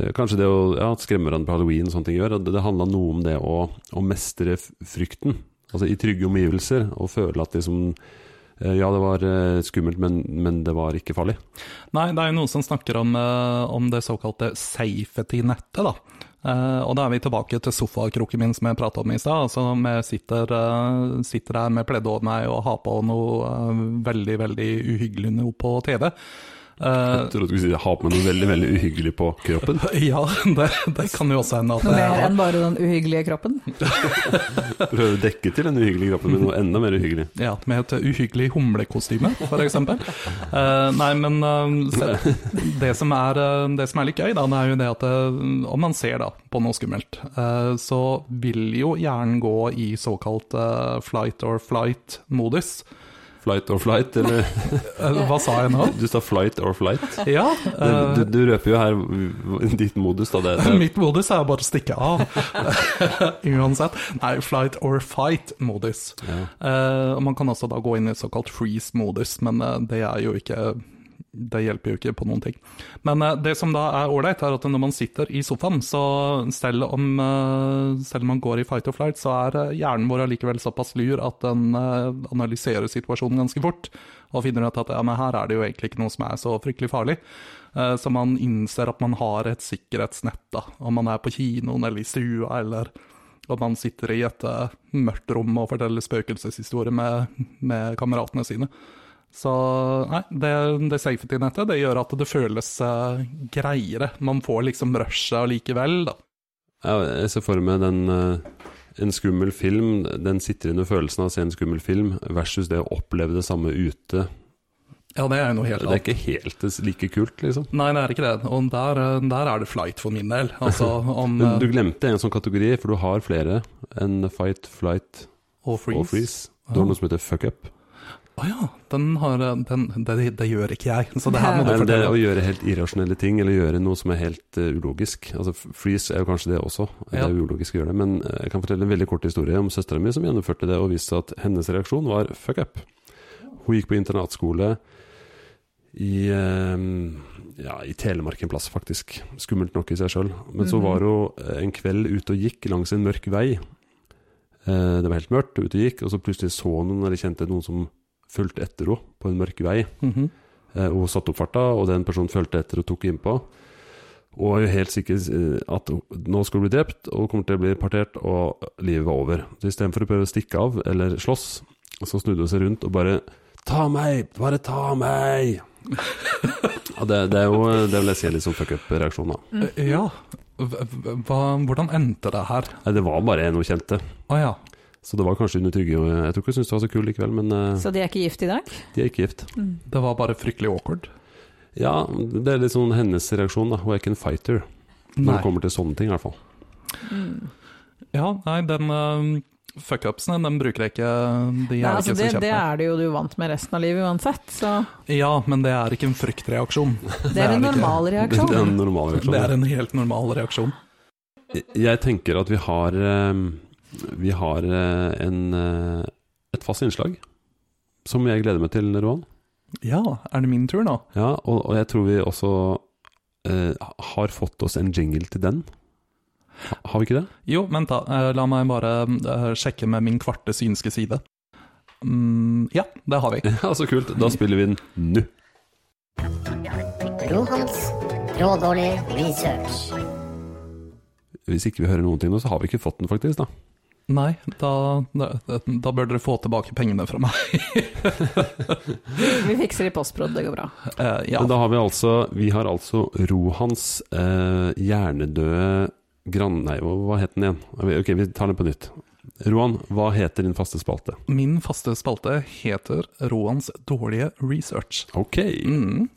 Speaker 1: eh, Kanskje det å ja, at skremme hverandre på halloween og sånne ting gjør. og Det, det handla noe om det å, å mestre f- frykten, altså i trygge omgivelser, og føle at liksom eh, Ja, det var eh, skummelt, men, men det var ikke farlig.
Speaker 2: Nei, det er jo noen som snakker om, eh, om det såkalte safety-nettet, da. Eh, og da er vi tilbake til sofakroken min som jeg prata om i stad. Altså, om jeg sitter, eh, sitter der med pleddet over meg og har på noe eh, veldig, veldig uhyggelig noe på TV. Eh,
Speaker 1: Jeg trodde du skulle si jeg har på meg noe veldig veldig uhyggelig på kroppen.
Speaker 2: ja, det, det Mm. kan jo også hende at jeg
Speaker 3: Mer
Speaker 2: har.
Speaker 3: enn bare den uhyggelige kroppen.
Speaker 1: Prøver å dekke til den uhyggelige kroppen med noe enda mer uhyggelig.
Speaker 2: Ja, med et uhyggelig humlekostyme, f.eks. Uh, nei, men eh, se, det, som er, eh, det som er litt gøy, da, det er jo det at eh, om man ser da, på noe skummelt, eh, så vil jo hjernen gå i såkalt eh, flight or flight-modus.
Speaker 1: Flight or flight, eller
Speaker 2: Eh, hva sa jeg nå?
Speaker 1: Du sa flight or flight.
Speaker 2: Ja,
Speaker 1: Du,
Speaker 2: eh,
Speaker 1: du, du røper jo her v- ditt modus, da. Det, det.
Speaker 2: Mitt modus er bare å stikke av. Uansett. Nei, flight or fight-modus.
Speaker 1: Ja.
Speaker 2: Eh, og man kan også da gå inn i såkalt freeze-modus, men eh, det er jo ikke det hjelper jo ikke på noen ting. Men eh, det som da er ålreit, er at når man sitter i sofaen, så selv om, eh, selv om man går i fight or flight, så er eh, hjernen vår allikevel såpass lur at den eh, analyserer situasjonen ganske fort, og finner ut at ja, men her er det jo egentlig ikke noe som er så fryktelig farlig. Eh, Så man innser at man har et sikkerhetsnett, da. Om man er på kinoen eller i stua, eller om man sitter i et eh, mørkt rom og forteller spøkelseshistorier med, med kameratene sine. Så nei, det, det safety-nettet det gjør at det føles eh, greiere. Man får liksom rushet allikevel, da.
Speaker 1: Ja, jeg ser for meg den eh, en skummel film, den sitrende følelsen av å se en skummel film versus det å oppleve det samme ute.
Speaker 2: Ja, det er jo noe helt
Speaker 1: Det
Speaker 2: annet.
Speaker 1: er ikke helt like kult, liksom.
Speaker 2: Nei, det er ikke det. Og der, eh, der er det flight for min del. Altså om
Speaker 1: Men du
Speaker 2: eh,
Speaker 1: glemte en sånn kategori, for du har flere enn fight, flight
Speaker 2: og
Speaker 1: og freeze. Du har noe som heter fuck up.
Speaker 2: eh, Å ja, den har eh, den, det, det gjør ikke jeg, så det her må du
Speaker 1: Nei, men det
Speaker 2: fortelle.
Speaker 1: å gjøre helt irrasjonelle ting, eller gjøre noe som er helt eh, ulogisk. Altså, f- freeze er jo kanskje det også, det
Speaker 2: Ja.
Speaker 1: er jo ulogisk å gjøre det. Men eh, jeg kan fortelle en veldig kort historie om søstera mi som gjennomførte det, og viste at hennes reaksjon var fuck up. Hun gikk på internatskole i, eh, ja, i Telemark en plass, faktisk. Skummelt nok i seg sjøl. Men så
Speaker 3: Mhm.
Speaker 1: var hun eh, en kveld ute og gikk langs en mørk vei. Eh, Det var helt mørkt, ute og gikk, og så plutselig så hun noen, eller kjente noen som fulgte etter henne på en mørk vei.
Speaker 2: Mhm.
Speaker 1: Eh, Hun satte opp farta, og den personen fulgte etter og tok innpå. Og var jo helt sikker eh, at hun- nå skulle hun bli drept, og hun kommer til å bli partert, og livet var over. Så istedenfor å prøve å stikke av eller slåss, så snudde hun seg rundt og bare Ta meg! Bare ta meg! ja, det, det er jo eh, det vil jeg si er litt sånn fuck up-reaksjon, da.
Speaker 2: Eh, Ja. Hva, hva, hvordan endte det her?
Speaker 1: Nei, det var bare en hun kjente.
Speaker 2: Å ja.
Speaker 1: Så det var kanskje under trygge og Jeg tror ikke hun syntes det var så kul likevel, men eh,
Speaker 3: Så de er ikke gift i dag?
Speaker 1: de er ikke gift.
Speaker 3: Mm,
Speaker 2: Det var bare fryktelig awkward.
Speaker 1: Ja, det er litt sånn hennes reaksjon, da. Hun er ikke en fighter når
Speaker 2: Nei.
Speaker 1: det kommer til sånne ting, i hvert fall.
Speaker 3: mm.
Speaker 2: Ja, nei, den uh, fuckupsene, den bruker jeg ikke. De er
Speaker 3: Nei, altså, det,
Speaker 2: ikke så kjent
Speaker 3: det
Speaker 2: med.
Speaker 3: er det jo du vant med resten av livet uansett, så
Speaker 2: Ja, men det er ikke en fryktreaksjon.
Speaker 3: det er en
Speaker 2: det ikke.
Speaker 3: normal
Speaker 1: Det er en
Speaker 3: reaksjon.
Speaker 1: normal reaksjon. sånn,
Speaker 2: Det
Speaker 1: ja.
Speaker 2: er en helt normal reaksjon.
Speaker 1: Jeg tenker at vi har eh, Vi har eh, en, eh, et fast innslag som jeg gleder meg til, Roan.
Speaker 2: Ja, er det min tur nå?
Speaker 1: Ja, og, og jeg tror vi også eh, har fått oss en jingle til den. Ha- Har vi ikke det?
Speaker 2: Jo, vent da, eh, la meg bare eh, sjekke med min kvarte synske side. Mm, ja, det har vi.
Speaker 1: Ja, Så kult. Da spiller vi den nå.
Speaker 4: Rohans rådårlig research.
Speaker 1: Hvis ikke vi hører noen ting nå, så har vi ikke fått den, faktisk. da
Speaker 2: Nei, da, da, da bør dere få tilbake pengene fra meg.
Speaker 3: Vi fikser det i postprod, det går bra.
Speaker 2: Eh, ja.
Speaker 1: Men da har vi altså Vi har altså Rohans eh, hjernedøde grann... Nei, hva hva het den igjen? Ok, vi tar den på nytt. Roan, hva heter din faste spalte?
Speaker 2: Min faste spalte heter Roans dårlige research.
Speaker 1: Ok, vi
Speaker 2: Mm.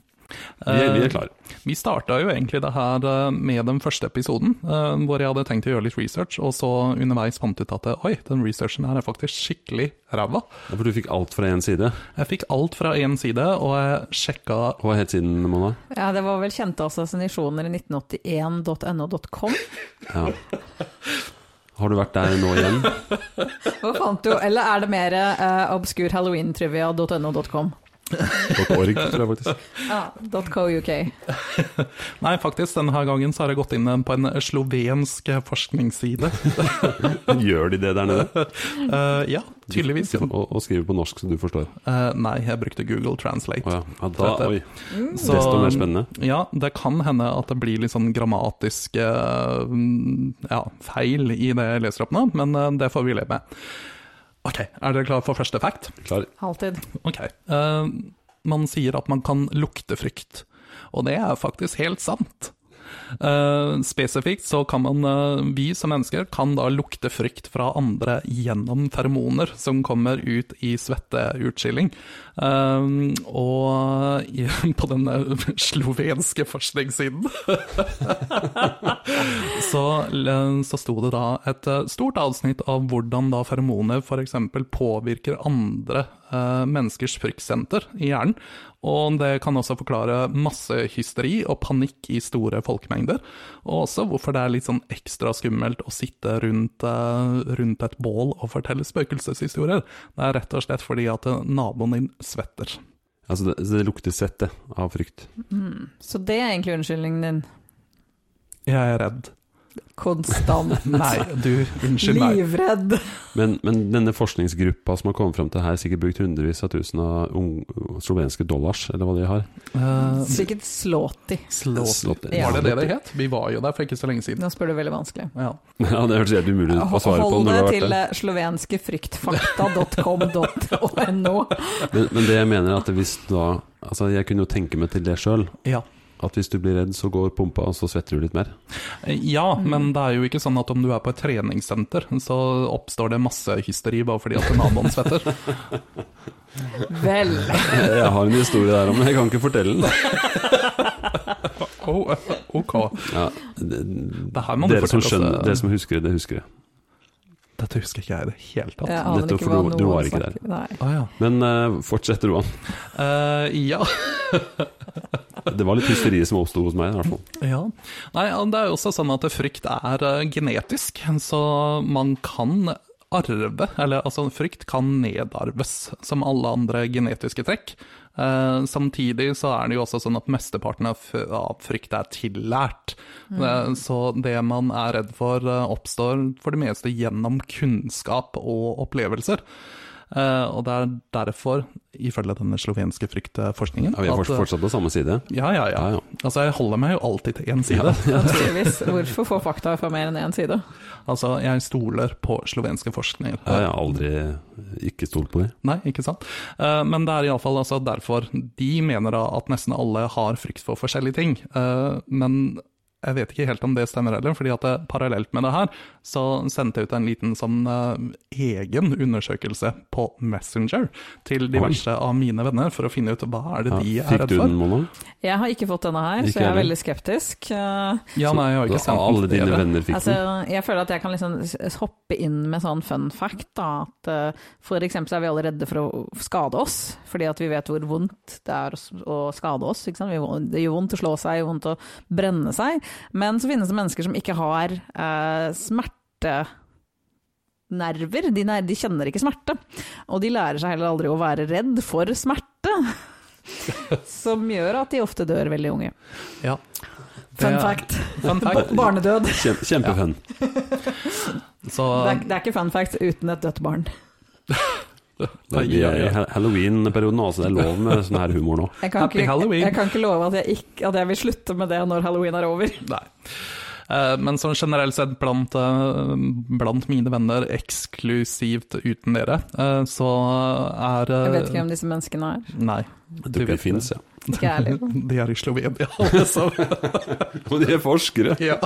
Speaker 1: er, vi
Speaker 2: Eh,
Speaker 1: er klare.
Speaker 2: Vi starta jo egentlig det her eh, med den første episoden, eh, hvor jeg hadde tenkt å gjøre litt research, og så underveis fant ut at eh, oi, den researchen her er faktisk skikkelig ræva.
Speaker 1: Ja, For du fikk alt fra én side.
Speaker 2: Jeg fikk alt fra én side, og jeg sjekka
Speaker 1: Hva het siden, Mona?
Speaker 3: Ja, det var vel kjente assosiasjoner i 1981.no.com.
Speaker 1: Ja. Har du vært der nå igjen?
Speaker 3: Hva fant du? Eller er det mer uh, obskurehalloweentrivia.no.com?
Speaker 1: .org, tror jeg faktisk.
Speaker 3: Ja, .co.uk.
Speaker 2: Nei, faktisk, denne her gangen så har jeg gått inn eh, på en slovensk forskningsside.
Speaker 1: Gjør de det der nede?
Speaker 2: Eh, ja, tydeligvis.
Speaker 1: Og, og skriver på norsk, så du forstår.
Speaker 2: Eh, nei, jeg brukte Google Translate.
Speaker 1: Å ja. ja da, oi.
Speaker 2: Så-
Speaker 1: Desto mer spennende.
Speaker 2: Ja, det kan hende at det blir litt sånn grammatiske mm, ja, feil i det jeg leser opp nå, men eh, det får vi leve med. Ok, er dere klare for første fact?
Speaker 1: Klar.
Speaker 3: Alltid.
Speaker 2: Ok. eh, man sier at man kan lukte frykt, og det er faktisk helt sant. Eh, spesifikt så kan man, eh, vi som mennesker, kan da lukte frykt fra andre gjennom feromoner som kommer ut i svetteutskilling. Eh, og i, på den eh, slovenske forskningssiden så, eh, så sto det da et eh, stort avsnitt av hvordan da feromoner f.eks. påvirker andre eh, menneskers fryktsenter i hjernen. Og det kan også forklare massehysteri og panikk i store folkemengder. Og også hvorfor det er litt sånn ekstra skummelt å sitte rundt, eh, rundt et bål og fortelle spøkelseshistorier. Det er rett og slett fordi at eh, naboen din svetter.
Speaker 1: Altså, det, det lukter svette av frykt.
Speaker 3: Mm. Så det er egentlig unnskyldningen din.
Speaker 2: Jeg er redd.
Speaker 3: Konstant.
Speaker 2: Nei, du, unnskyld meg.
Speaker 3: Livredd.
Speaker 1: Men, men denne forskningsgruppa som har kommet fram til her, sikkert brukt hundrevis av tusen av ung- slovenske dollars, eller hva de har.
Speaker 2: Eh,
Speaker 3: Sikkert slåti.
Speaker 2: slå-
Speaker 1: Slått-
Speaker 3: Ja.
Speaker 2: Var det det det het? Vi var jo der for ikke så lenge siden.
Speaker 3: Nå spør du veldig vanskelig.
Speaker 2: Ja.
Speaker 1: Ja, det hørtes helt umulig ut å svare på når
Speaker 3: Hold
Speaker 1: du
Speaker 3: det
Speaker 1: har vært
Speaker 3: til
Speaker 1: der.
Speaker 3: eh, slovenskefryktfakta.com.no.
Speaker 1: Men, men det jeg mener er at hvis da Altså, jeg kunne jo tenke meg til det sjøl.
Speaker 2: Ja.
Speaker 1: At hvis du blir redd, så går pumpa, og så svetter du litt mer.
Speaker 2: ja, men det er jo ikke sånn at om du er på et treningssenter, så oppstår det masse hysteri bare fordi at naboen svetter.
Speaker 3: Vel.
Speaker 1: Jeg har en historie der om men jeg kan ikke fortelle den.
Speaker 2: Oh, ok.
Speaker 1: Ja, det,
Speaker 2: Det her må du
Speaker 1: dere, som
Speaker 2: fortelle
Speaker 1: skjønner,
Speaker 2: oss, eh,
Speaker 1: dere som husker det, det husker det.
Speaker 2: Dette husker ikke jeg i det hele tatt.
Speaker 3: Jeg aner
Speaker 1: Nettopp
Speaker 3: ikke hva
Speaker 1: for du- du
Speaker 3: noen
Speaker 1: var ikke
Speaker 3: snakker- Nei.
Speaker 2: Ah, ja.
Speaker 1: Men eh, fortsett, Roan.
Speaker 2: Eh, ja.
Speaker 1: Det var litt hysteri som oppsto hos meg, i hvert fall.
Speaker 2: ja. Nei, ja, det er jo også sånn at frykt er eh, genetisk, så man kan arve, eller altså frykt kan nedarves, som alle andre genetiske trekk. Eh, samtidig så er det jo også sånn at mesteparten av, f- av frykt er tillært.
Speaker 1: Mm.
Speaker 2: Eh, så det man er redd for eh, oppstår for det meste gjennom kunnskap og opplevelser. Eh, og det er derfor, ifølge denne slovenske fryktforskningen
Speaker 1: Ja, vi er
Speaker 2: at,
Speaker 1: fortsatt,
Speaker 2: eh,
Speaker 1: fortsatt på samme side.
Speaker 2: ja, ja, ja.
Speaker 1: Ja, ja.
Speaker 2: Altså, jeg holder meg jo alltid til én side.
Speaker 3: Naturligvis. Hvorfor få fakta fra mer enn én side?
Speaker 2: Altså, jeg stoler på slovenske forskninger.
Speaker 1: Jeg har aldri eh, ikke stolt på det.
Speaker 2: Nei, ikke sant? Eh, Men det er iallfall altså derfor de mener da at nesten alle har frykt for forskjellige ting. Eh, Men jeg vet ikke helt om det stemmer heller, fordi at eh, parallelt med det her, så sendte jeg ut en liten sånn eh, egen undersøkelse på Messenger til diverse av mine venner, for å finne ut hva er det
Speaker 1: Ja,
Speaker 2: de er
Speaker 1: fikk
Speaker 2: redd
Speaker 1: du den,
Speaker 2: for.
Speaker 1: Mona?
Speaker 3: Jeg har ikke fått denne her,
Speaker 1: Ikke
Speaker 3: så jeg er
Speaker 1: heller.
Speaker 3: veldig skeptisk. Eh,
Speaker 2: Ja, nei, jeg har ikke
Speaker 1: Så
Speaker 2: sendt den
Speaker 1: Alle
Speaker 2: til
Speaker 1: dine
Speaker 2: dere.
Speaker 1: venner fikk
Speaker 3: Altså, jeg føler at jeg kan liksom s- hoppe inn med sånn fun fact. Da, at eh, for eksempel så er vi alle redde for å skade oss, fordi at vi vet hvor vondt det er å s- å skade oss. Ikke sant? Vi vå- Det gjør vondt å slå seg, det gjør vondt å brenne seg. Men så finnes det mennesker som ikke har eh, smerte. Nerver, de, ner- de kjenner ikke smerte, og de lærer seg heller aldri å være redd for smerte. Som gjør at de ofte dør veldig unge.
Speaker 2: Ja.
Speaker 3: Fun
Speaker 2: Det-
Speaker 3: fact.
Speaker 2: Fun fact.
Speaker 3: Barnedød.
Speaker 1: den. Kjem, kjempefun.
Speaker 2: Så
Speaker 3: Det er, det er ikke fun fact uten et dødt barn.
Speaker 1: Det er- Vi er i ha- Halloween-perioden, altså. Det er lov med sånn her humor nå.
Speaker 3: Jeg kan,
Speaker 2: Happy
Speaker 3: ikke,
Speaker 2: Halloween.
Speaker 3: jeg kan ikke love at jeg, ikke, at jeg vil slutte med det når halloween er over.
Speaker 2: Nei. Eh, Men sånn generelt sett blant, eh, blant mine venner, eksklusivt uten dere, eh, så er eh,
Speaker 3: Jeg vet ikke hvem disse menneskene er.
Speaker 2: Nei.
Speaker 1: Jeg tror ikke det fins, ja.
Speaker 3: Ikke jeg liksom. heller.
Speaker 2: De er i Slovenia, alle sammen.
Speaker 1: Og de er forskere.
Speaker 2: Ja.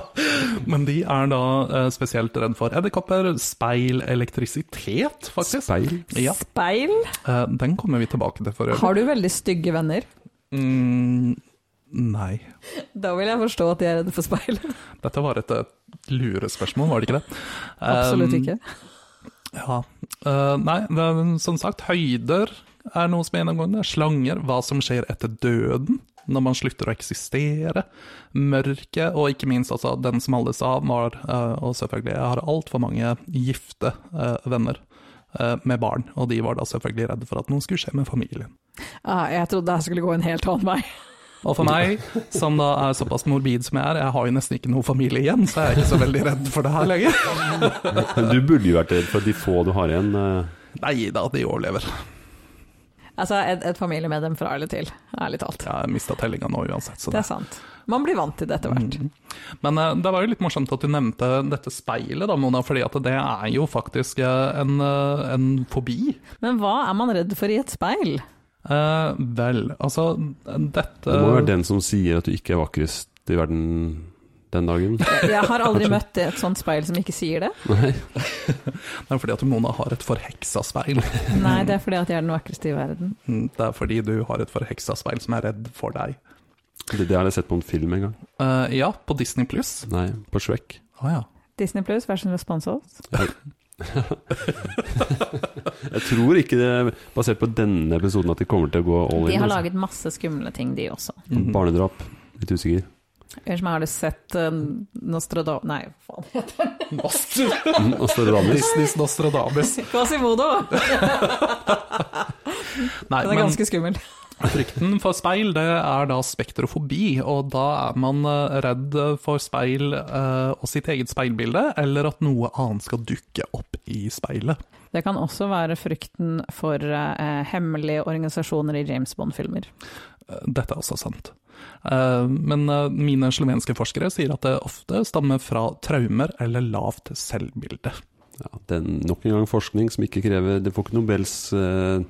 Speaker 2: Men de er da eh, spesielt redd for edderkopper, speil, elektrisitet, faktisk.
Speaker 1: Speil.
Speaker 2: Ja,
Speaker 3: Speil.
Speaker 2: eh, Den kommer vi tilbake til for øvrig.
Speaker 3: Har du veldig stygge venner?
Speaker 2: Mm, nei.
Speaker 3: Da vil jeg forstå at de er redde for speil.
Speaker 2: Dette var et eh, lurespørsmål, var det ikke det?
Speaker 3: Absolutt
Speaker 2: Um,
Speaker 3: ikke.
Speaker 2: Ja. Eh, nei, det er, som sagt, høyder er noe som er gjennomgående. Slanger, hva som skjer etter døden, når man slutter å eksistere. Mørket, og ikke minst altså, den som holdes av, var eh, Og selvfølgelig, jeg har altfor mange gifte eh, venner eh, med barn, og de var da selvfølgelig redde for at noe skulle skje med familien.
Speaker 3: Ah, jeg trodde jeg skulle gå en helt annen vei.
Speaker 2: Og for meg, som da er såpass morbid som jeg er, jeg har jo nesten ikke noe familie igjen, så jeg er ikke så veldig redd for det her lenger.
Speaker 1: Men du burde jo vært redd for de få du har igjen. eh.
Speaker 2: Nei da, de overlever.
Speaker 3: Altså, et, et familiemedlem fra eller til, ærlig talt.
Speaker 2: Jeg mista tellinga nå uansett, så
Speaker 3: Det er sant. Man blir vant til det etter hvert.
Speaker 2: Men eh, det var jo litt morsomt at du nevnte dette speilet, da, Mona, fordi at det er jo faktisk eh, en, eh, en fobi.
Speaker 3: Men hva er man redd for i et speil?
Speaker 2: Eh, vel, altså dette
Speaker 1: Det må jo være den som sier at du ikke er vakrest i verden den dagen.
Speaker 3: Jeg har aldri møtt et sånt speil som ikke sier det.
Speaker 1: Nei.
Speaker 2: Det er fordi at Mona har et forheksa speil.
Speaker 3: Nei, det er fordi at jeg er den vakreste i verden.
Speaker 2: Det er fordi du har et forheksa speil som er redd for deg.
Speaker 1: Det, det har jeg sett på en film en gang.
Speaker 2: Eh, ja, på Disney pluss.
Speaker 1: Nei, på Shrek.
Speaker 2: Å ja.
Speaker 3: Disney Plus, vær så snill å sponse oss.
Speaker 1: Jeg tror ikke det er basert på denne episoden at de kommer til å gå all
Speaker 3: De
Speaker 1: in.
Speaker 3: har
Speaker 1: altså.
Speaker 3: laget masse skumle ting, de også.
Speaker 2: Mhm.
Speaker 1: Barnedrap. Litt usikker.
Speaker 3: Unnskyld meg, har du sett uh, Nostradamus Nei, faen.
Speaker 2: Nostra-
Speaker 1: Mm, og Nostradamus.
Speaker 2: Disneys Nostradamus.
Speaker 3: Quasimodo! Den
Speaker 2: Nei,
Speaker 3: er
Speaker 2: men
Speaker 3: ganske skummel.
Speaker 2: frykten for speil, det er da spektrofobi, og da er man eh, redd for speil eh, og sitt eget speilbilde, eller at noe annet skal dukke opp i speilet.
Speaker 3: Det kan også være frykten for eh, hemmelige organisasjoner i James Bond-filmer.
Speaker 2: Dette er også sant. Eh, Men eh, mine slovenske forskere sier at det ofte stammer fra traumer eller lavt selvbilde.
Speaker 1: Ja, det er nok en gang forskning som ikke krever Det får ikke Nobels eh,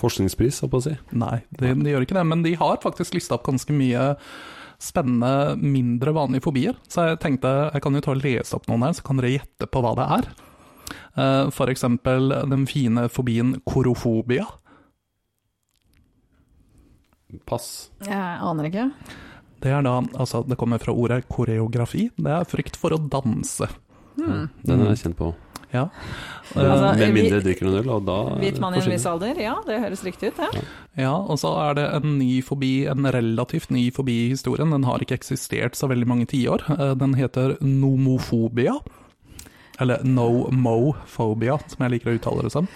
Speaker 1: forskningspris, holdt på å si.
Speaker 2: Nei, de, de gjør ikke det, men de har faktisk lista opp ganske mye spennende, mindre vanlige fobier. Så jeg tenkte jeg kan jo ta og lese opp noen her, så kan dere gjette på hva det er. Eh, For eksempel den fine fobien korofobia.
Speaker 1: Pass.
Speaker 3: Jeg aner ikke.
Speaker 2: Det er da, altså det kommer fra ordet koreografi, det er frykt for å danse.
Speaker 1: Den er jeg kjent på.
Speaker 2: Ja.
Speaker 3: Mm. Altså,
Speaker 1: Med
Speaker 3: vi-
Speaker 1: mindre jeg drikker noen øl, og da
Speaker 3: Hvit mann i en
Speaker 1: forsvinner.
Speaker 3: viss alder, ja, det høres riktig ut, det.
Speaker 2: Ja, og så er det en ny fobi, en relativt ny fobi i historien. Den har ikke eksistert så veldig mange tiår. Eh, Den heter nomofobia. Eller no-mo-phobia, som jeg liker å uttale det som.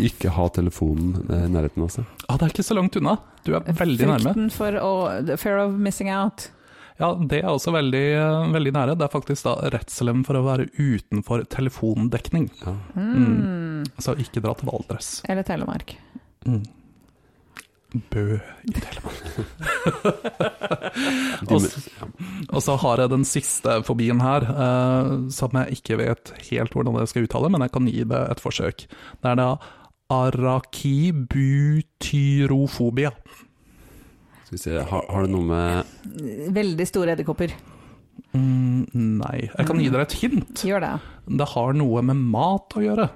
Speaker 1: Ikke ha telefonen eh, i nærheten av seg.
Speaker 2: Ja, det er ikke så langt unna. Du er veldig nærme.
Speaker 3: Frykten for å the Fear of missing out.
Speaker 2: Ja, det er også veldig, eh, veldig nære. Det er faktisk da redselen for å være utenfor telefondekning.
Speaker 1: Ja.
Speaker 2: Mm. Så ikke dra til Valdres.
Speaker 3: Hmm.
Speaker 2: Mm.
Speaker 3: Eller Telemark.
Speaker 2: Bø i Telemark.
Speaker 1: De-
Speaker 2: Og s- og så har jeg den siste fobien her, eh, som jeg ikke vet helt hvordan jeg skal uttale, men jeg kan gi det et forsøk. Det er da arakibutyrofobia.
Speaker 1: Skal vi se, har, har det noe med
Speaker 3: Veldig store edderkopper.
Speaker 2: Mm, nei, jeg kan gi dere et hint.
Speaker 3: Gjør det.
Speaker 2: Det har noe med mat å gjøre.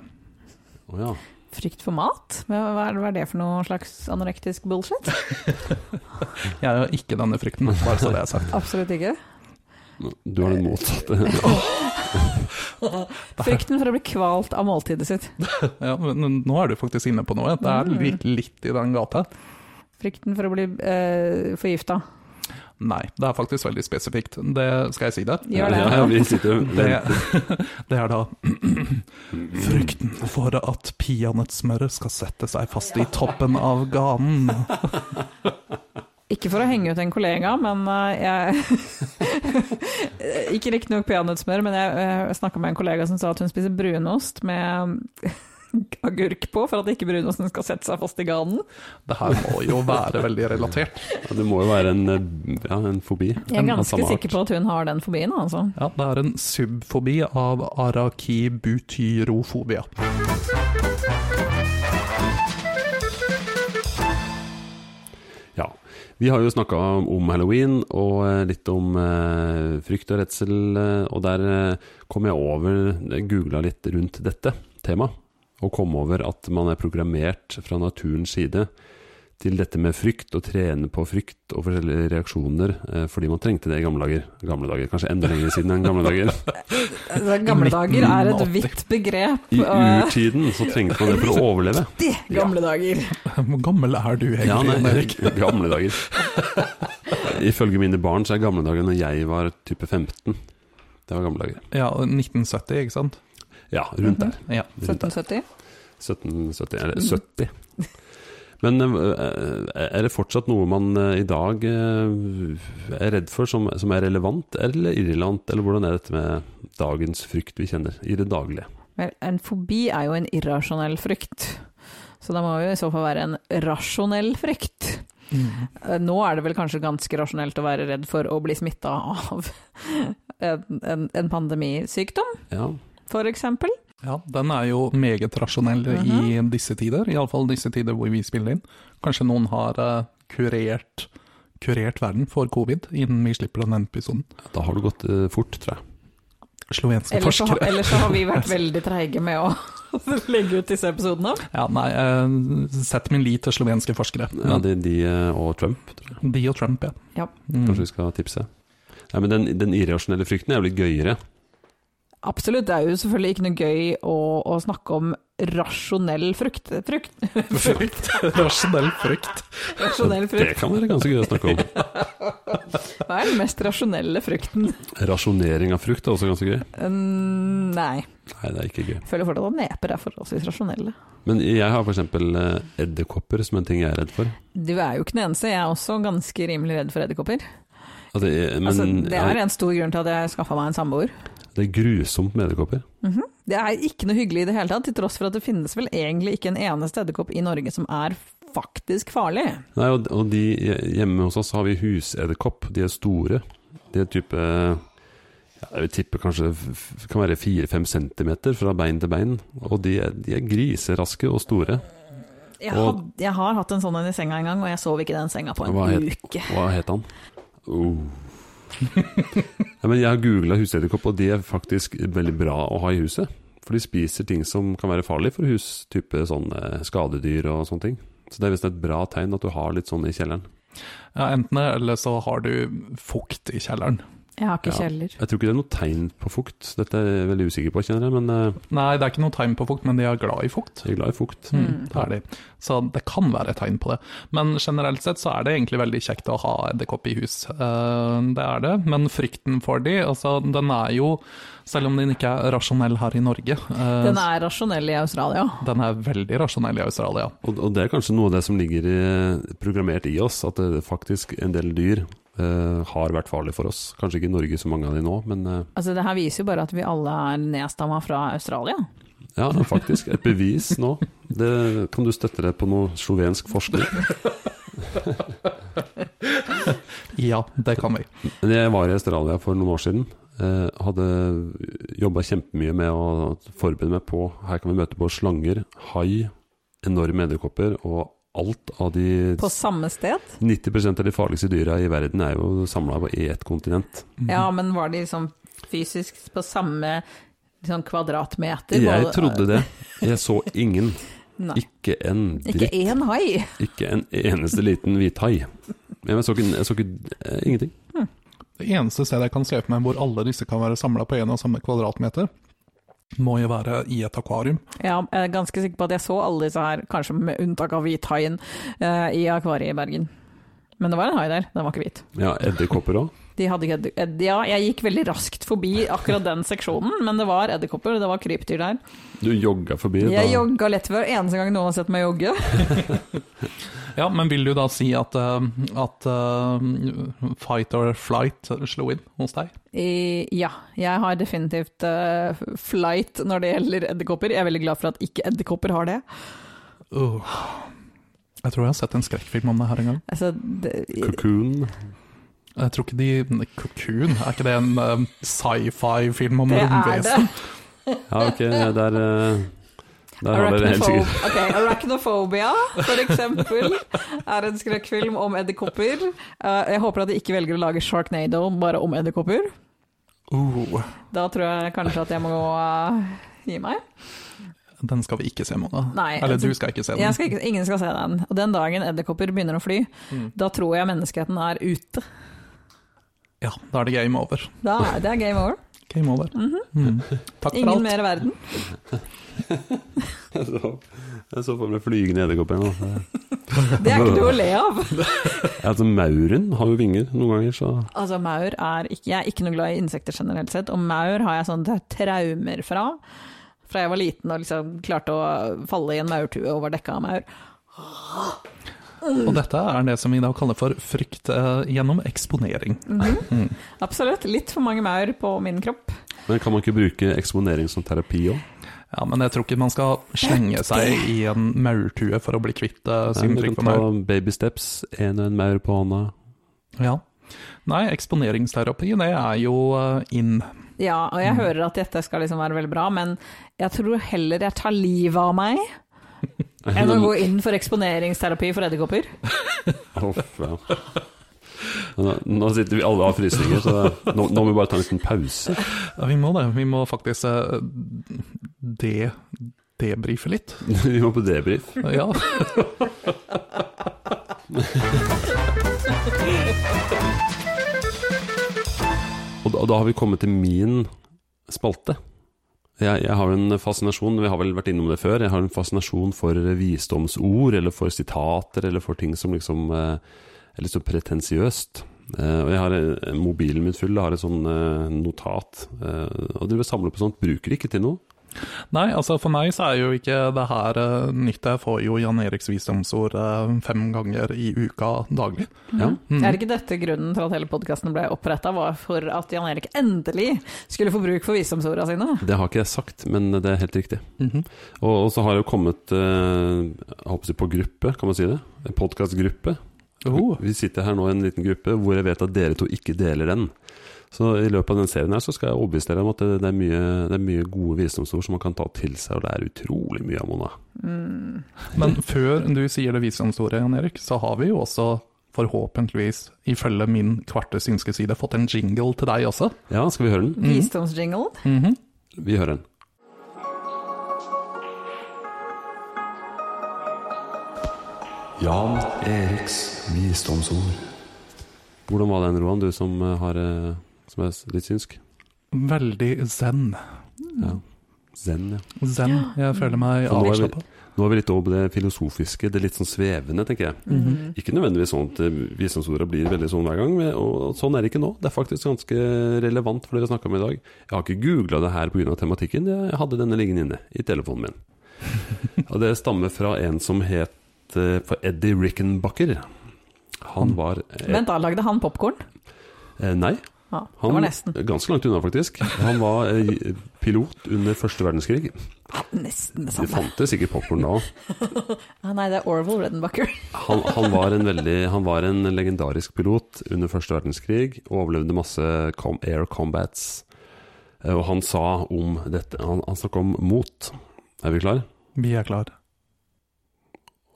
Speaker 1: Å ja.
Speaker 3: Frykt for mat? Hva hva er, hva er det for noe slags anorektisk bullshit?
Speaker 2: Jeg har ikke denne frykten, bare så det er sagt.
Speaker 3: Absolutt ikke.
Speaker 1: Du
Speaker 3: Eh,
Speaker 1: har den motsatte.
Speaker 3: Frykten for å bli kvalt av måltidet sitt.
Speaker 2: Ja, men nå er du faktisk inne på noe. Det er litt, litt i den gata.
Speaker 3: Frykten for å bli uh, forgifta.
Speaker 2: Nei, det er faktisk veldig spesifikt. Det skal jeg si det.
Speaker 3: Gjør det.
Speaker 1: Ja, ja, vi sitter og
Speaker 2: Det, det er da frykten for at peanøttsmøret skal sette seg fast i toppen av ganen.
Speaker 3: Ikke for å henge ut en kollega, men eh, jeg Ikke riktignok peanøttsmør, men jeg, jeg snakka med en kollega som sa at hun spiser brunost med agurk på for at ikke brunosten skal sette seg fast i ganen.
Speaker 2: Det her må jo være veldig relatert.
Speaker 1: Ja, det må jo være en, eh, ja, en fobi.
Speaker 3: Jeg er
Speaker 1: Av
Speaker 3: ganske
Speaker 1: samme art.
Speaker 3: sikker på at hun har den fobien, altså.
Speaker 2: Ja, det er en subfobi av arakibutyrofobia.
Speaker 1: Ja. Vi har jo snakka om halloween og eh, litt om eh, frykt og redsel, eh, og der eh, kom jeg over Googla litt rundt dette temaet, og kom over at man er programmert fra naturens side til dette med frykt, og trene på frykt og forskjellige reaksjoner, eh, fordi man trengte det i gamle dager. Gamle dager, Kanskje enda lenger siden enn gamle dager.
Speaker 3: Altså, Gamle dager er et
Speaker 2: 1980.
Speaker 3: vidt begrep.
Speaker 1: I
Speaker 3: og-
Speaker 1: urtiden så trengte man det for å overleve.
Speaker 3: Det, gamle dager.
Speaker 2: Hvor gammel er du egentlig,
Speaker 1: Ja, nei,
Speaker 2: Erik?
Speaker 1: Gamle dager. Ifølge mine barn så er gamle dager når jeg var type 15. Det var gamle dager.
Speaker 2: Ja, 1970, ikke sant?
Speaker 1: Ja, rundt der.
Speaker 2: Ja.
Speaker 1: Rundt der.
Speaker 3: 1770.
Speaker 1: 1770, eller 70. Men eh, er det fortsatt noe man eh, i dag eh, er redd for som, som er relevant eller irrelevant? Eller hvordan er dette med dagens frykt vi kjenner i det daglige?
Speaker 3: Vel, en fobi er jo en irrasjonell frykt. Så det må jo i så fall være en rasjonell frykt.
Speaker 2: Mm.
Speaker 3: Eh, Nå er det vel kanskje ganske rasjonelt å være redd for å bli smitta av en, en, en pandemisykdom,
Speaker 1: Ja,
Speaker 3: f.eks.
Speaker 2: Ja, den er jo meget rasjonell i disse tider, iallfall disse tider hvor vi spiller inn. Kanskje noen har eh, kurert, kurert verden for covid innen vi slipper denne episoden.
Speaker 1: da har det gått eh, fort, tror jeg.
Speaker 2: Slovenske
Speaker 3: Ellers så,
Speaker 2: forskere.
Speaker 3: ellers så har vi vært veldig treige med å legge ut disse episodene.
Speaker 2: Ja, nei, eh, sett min lit til slovenske forskere.
Speaker 1: Ja, de, de eh, og Trump, tror jeg.
Speaker 2: De og Trump, ja.
Speaker 3: Ja.
Speaker 2: Mm.
Speaker 1: Kanskje vi skal tipse. Nei, men den, den irrasjonelle frykten er jo litt gøyere.
Speaker 3: Absolutt, det er jo selvfølgelig ikke noe gøy å, å snakke om rasjonell frukt. frukt
Speaker 2: Frykt. Rasjonell frykt.
Speaker 3: rasjonell
Speaker 1: Det
Speaker 3: frukt.
Speaker 1: kan være ganske gøy å snakke om.
Speaker 3: Hva er den mest rasjonelle frukten?
Speaker 1: Rasjonering av frukt er også ganske gøy.
Speaker 3: Mm, nei,
Speaker 1: Nei, det er ikke gøy.
Speaker 3: jeg føler fortsatt at neper er forholdsvis rasjonelle.
Speaker 1: Men jeg har f.eks. edderkopper som en ting jeg er redd for.
Speaker 3: Du er jo ikke den eneste, jeg er også ganske rimelig redd for edderkopper.
Speaker 1: Altså, jeg, men
Speaker 3: Altså, det er
Speaker 1: jeg,
Speaker 3: en stor grunn til at jeg skaffa meg en samboer.
Speaker 1: det er grusomt med edderkopper.
Speaker 3: Det er ikke noe hyggelig i det hele tatt, til tross for at det finnes vel egentlig ikke en eneste edderkopp i Norge som er faktisk farlig.
Speaker 1: Nei, og, og de, hjemme hos oss har vi husedderkopp. De er store. De er type ja, Jeg vil tippe kanskje f- f- kan være fire-fem centimeter fra bein til bein. Og de er, de er griseraske og store.
Speaker 3: Jeg,
Speaker 1: Og-
Speaker 3: had, jeg har hatt en sånn en i senga en gang, og jeg sov ikke i den senga på en
Speaker 1: Hva het-
Speaker 3: uke.
Speaker 1: Hva het han? Oh. Nei, men jeg har googla husedderkopp, og de er faktisk veldig bra å ha i huset. For de spiser ting som kan være farlig for hus, type sånn eh, skadedyr og sånne ting. Så det er visst et bra tegn at du har litt sånn i kjelleren.
Speaker 2: Ja, enten det, eller så har du fukt i kjelleren.
Speaker 3: Jeg har ikke
Speaker 1: Ja.
Speaker 3: kjeller.
Speaker 1: Jeg tror ikke det er noe tegn på fukt, dette er jeg veldig usikker på, kjenner jeg, men eh,
Speaker 2: Nei, det er ikke noe tegn på fukt, men de er glad i fukt.
Speaker 1: jeg er glad i fukt.
Speaker 2: Mm, det er de. Så det kan være et tegn på det. Men generelt sett så er det egentlig veldig kjekt å ha edderkopp i hus. Eh, Det er det, men frykten for de, altså den er jo, selv om den ikke er rasjonell her i Norge, eh,
Speaker 3: Den er rasjonell i Australia.
Speaker 2: den er veldig rasjonell i Australia.
Speaker 1: Og, og det er kanskje noe av det som ligger i, programmert i oss, at det faktisk en del dyr eh, har vært farlig for oss. Kanskje ikke i Norge så mange av de nå, men eh,
Speaker 3: Altså, det her viser jo bare at vi alle er nedstamma fra Australia.
Speaker 1: Ja, faktisk. Et bevis nå. Det, kan du støtte deg på noe slovensk forskning?
Speaker 2: Ja, det kan vi.
Speaker 1: Men Jeg var i Australia for noen år siden. Eh, hadde jobba kjempemye med å forberede meg på Her kan vi møte på slanger, hai, enorme edderkopper og alt av de
Speaker 3: På samme sted.
Speaker 1: 90 av de farligste dyra i verden er jo samla i ett kontinent.
Speaker 2: Mhm.
Speaker 3: Ja, men var de liksom fysisk på samme liksom, kvadratmeter?
Speaker 1: Jeg trodde det. Jeg så ingen.
Speaker 3: Nei.
Speaker 1: Ikke en
Speaker 3: Ikke
Speaker 1: dritt.
Speaker 3: én hai!
Speaker 1: Ikke en eneste liten hvithai. Jeg så ikke, jeg så ikke eh, ingenting.
Speaker 2: Det eneste stedet jeg kan se for meg hvor alle disse kan være samla på en og samme kvadratmeter, må jo være i et akvarium.
Speaker 3: Ja, jeg er ganske sikker på at jeg så alle disse her, kanskje med unntak av hvithaien, eh, i akvariet i Bergen. Men det var en hai der, den var ikke hvit.
Speaker 1: Ja, edderkopper òg.
Speaker 3: De hadde ikke edder- edd- ja, jeg gikk veldig raskt forbi akkurat den seksjonen, men det var edderkopper, det var krypdyr der.
Speaker 1: Du jogga forbi. da-
Speaker 3: Jeg jogga lett hver eneste gang noen har sett meg jogge.
Speaker 2: Ja, men vil du da si at, eh, at eh, fight or flight slo inn hos deg?
Speaker 3: I, ja, jeg har definitivt eh, flight når det gjelder edderkopper. Jeg er veldig glad for at ikke edderkopper har det.
Speaker 2: Uh. Jeg tror jeg har sett en skrekkfilm om det her en gang.
Speaker 3: Altså, det
Speaker 1: Cocoon.
Speaker 2: Jeg tror ikke de Cocoon, er ikke det en eh, sci-fi-film om
Speaker 3: det er det.
Speaker 2: romvesen?
Speaker 1: Ja, ok, det er eh, Der har dere helt sikkert
Speaker 3: Arachnophob- ok, Arachnophobia, for eksempel, er en skrekkfilm om edderkopper. Eh, jeg håper at de ikke velger å lage Sharknado bare om edderkopper.
Speaker 2: Uh,
Speaker 3: Da tror jeg kanskje at jeg må eh, gi meg.
Speaker 2: den skal vi ikke se, Mona.
Speaker 3: Nei,
Speaker 2: Eller
Speaker 3: altså,
Speaker 2: du skal ikke se den.
Speaker 3: Jeg skal ikke, ingen skal se den. Og den dagen edderkopper begynner å fly,
Speaker 2: Mm.
Speaker 3: da tror jeg menneskeheten er ute.
Speaker 2: Ja, da er det game over.
Speaker 3: Da er det er game over.
Speaker 2: Game over. Mm. Takk for alt.
Speaker 3: Mhm. Ingen mer i verden.
Speaker 1: Jeg så, jeg så for meg flygende edderkopper. nå.
Speaker 3: Det er ikke noe å le av.
Speaker 1: Altså, Mauren har jo vinger noen ganger, så
Speaker 3: Altså, maur er ikke, jeg er ikke noe glad i insekter generelt sett, og maur har jeg sånne traumer fra. Fra jeg var liten og liksom klarte å falle i en maurtue og var dekka av maur.
Speaker 2: Og dette er det som vi da kaller for frykt eh, gjennom eksponering.
Speaker 1: Mm.
Speaker 3: Absolutt. Litt for mange maur på min kropp.
Speaker 1: Men kan man ikke bruke eksponering som terapi òg?
Speaker 2: Ja, Men jeg tror ikke man skal slenge seg i en maurtue for å bli kvitt eh, sin
Speaker 1: Altså, Du kan
Speaker 2: frykt for
Speaker 1: ta
Speaker 2: maur.
Speaker 1: baby steps, en og en maur på hånda.
Speaker 2: Ja. Nei, eksponeringsterapi, det er jo eh, in.
Speaker 3: Ja, og jeg hører at dette skal liksom være veldig bra, men jeg tror heller jeg tar livet av meg enn å
Speaker 1: Mm.
Speaker 3: gå inn for eksponeringsterapi for edderkopper.
Speaker 1: Uff, ja. nå, nå sitter vi alle av frysninger, så nå, nå må vi bare ta en liten pause.
Speaker 2: Ja, vi må det. Vi må faktisk eh, de debrife litt.
Speaker 1: Vi må på debrief.
Speaker 2: Ja.
Speaker 1: Og da, og da har vi kommet til min spalte. Jeg, jeg har en fascinasjon, vi har vel vært innom det før, jeg har en fascinasjon for visdomsord, eller for sitater, eller for ting som liksom eh, er litt så pretensiøst. Eh, og jeg har eh, mobilen min full, jeg har et sånn eh, notat. Eh, og driver og samler på sånt, bruker ikke til noe.
Speaker 2: Nei, altså for meg så er jo ikke det her eh, nytt. Jeg får jo Jan Eriks visdomsord eh, fem ganger i uka daglig.
Speaker 1: Ja.
Speaker 2: Mm.
Speaker 3: Er ikke dette grunnen til at hele podkasten ble oppretta, var for at Jan Erik endelig skulle få bruk for visdomsorda sine?
Speaker 1: Det har ikke jeg sagt, men det er helt riktig. og, og så har jeg jo kommet eh, jeg håper å si på gruppe, kan man si det? En podkastgruppe.
Speaker 2: Oh.
Speaker 1: Vi sitter her nå i en liten gruppe hvor jeg vet at dere to ikke deler den. Så i løpet av den serien her så skal jeg overbevise dere om at det, det, er, mye, det er mye gode visdomsord som man kan ta til seg og lære utrolig mye av, Mona.
Speaker 2: Men før du sier det visdomsordet, Jan Erik, så har vi jo også forhåpentligvis, ifølge min kvarte synske side, fått en jingle til deg også.
Speaker 1: Ja, skal vi høre den?
Speaker 3: Visdomsjinglen.
Speaker 1: Vi hører den.
Speaker 5: Jan Eriks visdomsord.
Speaker 1: Hvordan var den, Roan, du som, eh, har, eh, som er s- litt synsk?
Speaker 2: Veldig zen.
Speaker 1: Ja. Zen, ja.
Speaker 2: Zen. Jeg føler meg
Speaker 1: For nå er vi-
Speaker 2: avslappa.
Speaker 1: Nå er vi litt over på det filosofiske, det litt sånn svevende, tenker jeg.
Speaker 3: Mm.
Speaker 1: Ikke nødvendigvis sånn at eh, visdomsorda blir veldig sånn hver gang, men- og sånn er det ikke nå. Det er faktisk ganske relevant for det vi snakka om i dag. Jeg har ikke googla det her pga. tematikken, jeg hadde denne liggende inne i telefonen min. Og det stammer fra en som het eh, for Eddie Rickenbacker.
Speaker 3: Mm.
Speaker 1: Han var eh,
Speaker 3: Vent da, lagde han popkorn?
Speaker 1: eh, Nei.
Speaker 3: Ja, det
Speaker 1: Han,
Speaker 3: var nesten.
Speaker 1: Ganske langt unna, faktisk. Han var eh, pilot under første verdenskrig.
Speaker 3: Nesten det
Speaker 1: Det
Speaker 3: samme.
Speaker 1: fantes sikkert popkorn da òg.
Speaker 3: Ah, nei, det er Orville Reddenbacker.
Speaker 1: Han, han, var en veldig, han var en legendarisk pilot under første verdenskrig og overlevde masse com air combats. Eh, Og han sa om dette Han, han snakka om mot. Er vi klar?
Speaker 2: Vi er klar.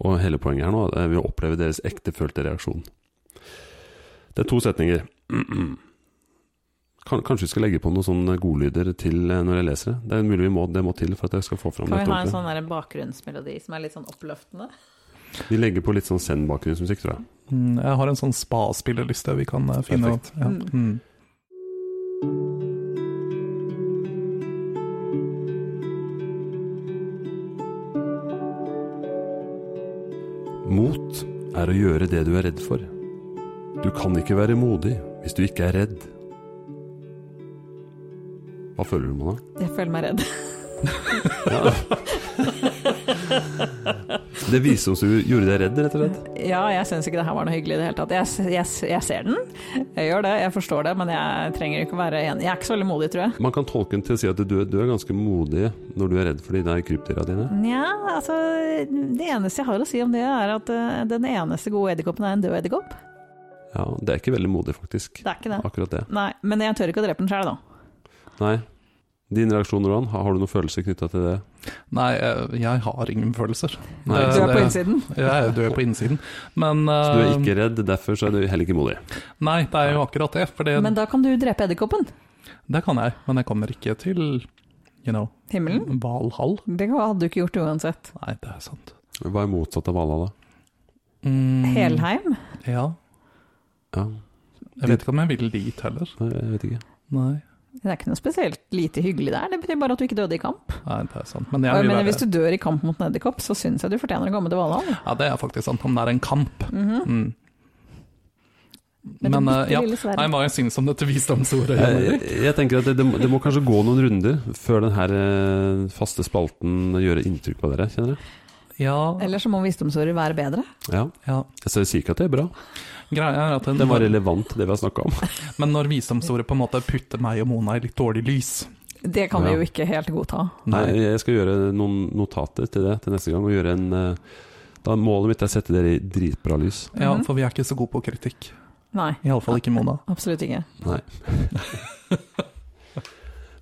Speaker 1: Og hele poenget her nå er ved å oppleve deres ektefølte reaksjon. Det er to setninger. Kan, kanskje vi skal legge på noen sånne godlyder til eh, når jeg leser det? Det er mulig vi må, det må til for at jeg skal få fram
Speaker 3: Kan
Speaker 1: dette
Speaker 3: vi ha en
Speaker 1: ordentlig.
Speaker 3: sånn der bakgrunnsmelodi som er litt sånn oppløftende?
Speaker 1: Vi legger på litt sånn zen-bakgrunnsmusikk, tror jeg.
Speaker 2: Mm, Jeg har en sånn spa-spillerliste vi kan eh, finne opp. Ja. Mm.
Speaker 1: Mot er å gjøre det du er redd for. Du kan ikke være modig hvis du ikke er redd. Hva føler du, Mona?
Speaker 3: Jeg føler meg redd.
Speaker 1: Det visdomsordet gjorde deg redd, rett og slett?
Speaker 3: Ja, jeg syns ikke det her var noe hyggelig i det hele tatt. Jeg, s- jeg, s- jeg ser den, jeg gjør det, jeg forstår det, men jeg trenger ikke å være enig. Jeg er ikke så veldig modig, tror jeg.
Speaker 1: Man kan tolke den til å si at du, du er ganske modig når du er redd for de der krypdyra dine.
Speaker 3: Nja, altså Det eneste jeg har å si om det, er at eh, den eneste gode edderkoppen er en død edderkopp.
Speaker 1: Ja, det er ikke veldig modig, faktisk.
Speaker 3: Det er ikke det.
Speaker 1: Akkurat det.
Speaker 3: Nei, men jeg tør ikke å drepe den sjøl, da.
Speaker 1: Nei. Din reaksjon, Roan, har har du noen følelser knytta til det?
Speaker 2: Nei, jeg, jeg har ingen følelser.
Speaker 1: Nei,
Speaker 2: Eh,
Speaker 3: Du er på
Speaker 2: det-
Speaker 3: innsiden.
Speaker 2: Jeg er død på innsiden. Men
Speaker 1: Så du er
Speaker 2: eh,
Speaker 1: ikke redd, derfor så er du heller ikke modig.
Speaker 2: Nei, det er jo akkurat det. For det,
Speaker 3: Men da kan du drepe edderkoppen.
Speaker 2: det kan jeg, men jeg kommer ikke til you know,
Speaker 3: Himmelen.
Speaker 2: Valhall.
Speaker 3: Det hadde du ikke gjort uansett.
Speaker 2: Nei, det er sant.
Speaker 1: Hva er motsatt av Valhall, da?
Speaker 2: Mm,
Speaker 3: Helheim.
Speaker 2: Ja.
Speaker 1: Ja,
Speaker 2: Jeg vet ikke om jeg vil dit heller.
Speaker 1: nei, jeg vet ikke.
Speaker 2: Nei,
Speaker 3: Det er ikke noe spesielt lite hyggelig der, det betyr bare at du ikke døde i kamp.
Speaker 2: nei det er sant. Men
Speaker 3: Og
Speaker 2: jeg
Speaker 3: jeg
Speaker 2: vil
Speaker 3: mener,
Speaker 2: være
Speaker 3: hvis du dør i kamp mot en edderkopp, så syns jeg du fortjener å komme til Valhall.
Speaker 2: Ja, det er faktisk sant, om det er en kamp.
Speaker 3: Mhm.
Speaker 2: mm.
Speaker 3: Med det
Speaker 2: Men eh,
Speaker 3: bitte
Speaker 2: ja,
Speaker 3: lille sverd.
Speaker 2: nei, hva jeg syns om dette visdomsordet? Jan
Speaker 1: Jeg,
Speaker 2: Erik?
Speaker 1: Eh, jeg tenker at det, det, må, det må kanskje gå noen runder før den her eh, faste spalten gjør inntrykk på dere, kjenner jeg.
Speaker 2: Ja,
Speaker 3: Eller så må visdomsordet være bedre.
Speaker 1: Ja.
Speaker 2: ja.
Speaker 1: Så jeg sier ikke at det er bra.
Speaker 2: Greia er at
Speaker 1: Det var relevant, det vi har snakka om.
Speaker 2: Men når visdomsordet på en måte putter meg og Mona i litt dårlig lys
Speaker 3: Det kan
Speaker 1: Ja.
Speaker 3: vi jo ikke helt godta.
Speaker 1: Nei, jeg skal gjøre noen notater til det til neste gang. Og gjøre en eh, Da målet mitt er å sette dere i dritbra lys.
Speaker 2: Ja,
Speaker 3: Mhm.
Speaker 2: for vi er ikke så gode på kritikk.
Speaker 3: Nei,
Speaker 2: Iallfall ikke Mona.
Speaker 3: absolutt ikke.
Speaker 1: Nei.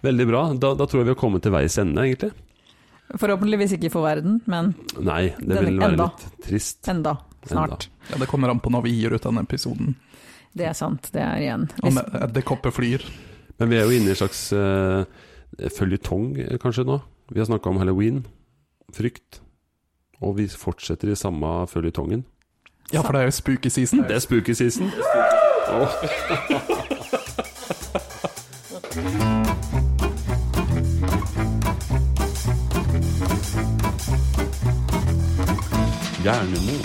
Speaker 1: Veldig bra. Da, da tror jeg vi har kommet til veis ende, egentlig.
Speaker 3: Forhåpentligvis ikke for verden, men
Speaker 1: Nei, det
Speaker 3: Den-
Speaker 1: vil være
Speaker 3: enda.
Speaker 1: litt trist.
Speaker 3: enda. Snart.
Speaker 2: Ja, Det kommer an på når vi gir ut denne episoden.
Speaker 3: Det er sant, det er igjen.
Speaker 2: Om
Speaker 3: Hvis-
Speaker 2: edderkopper flyr.
Speaker 1: Men vi er jo inne i en slags uh, føljetong, eh, kanskje, nå. Vi har snakka om halloween, frykt. Og vi fortsetter i samme føljetongen.
Speaker 2: Ja, for det er jo spooky season.
Speaker 1: Det er spooky season. Gjerne mor.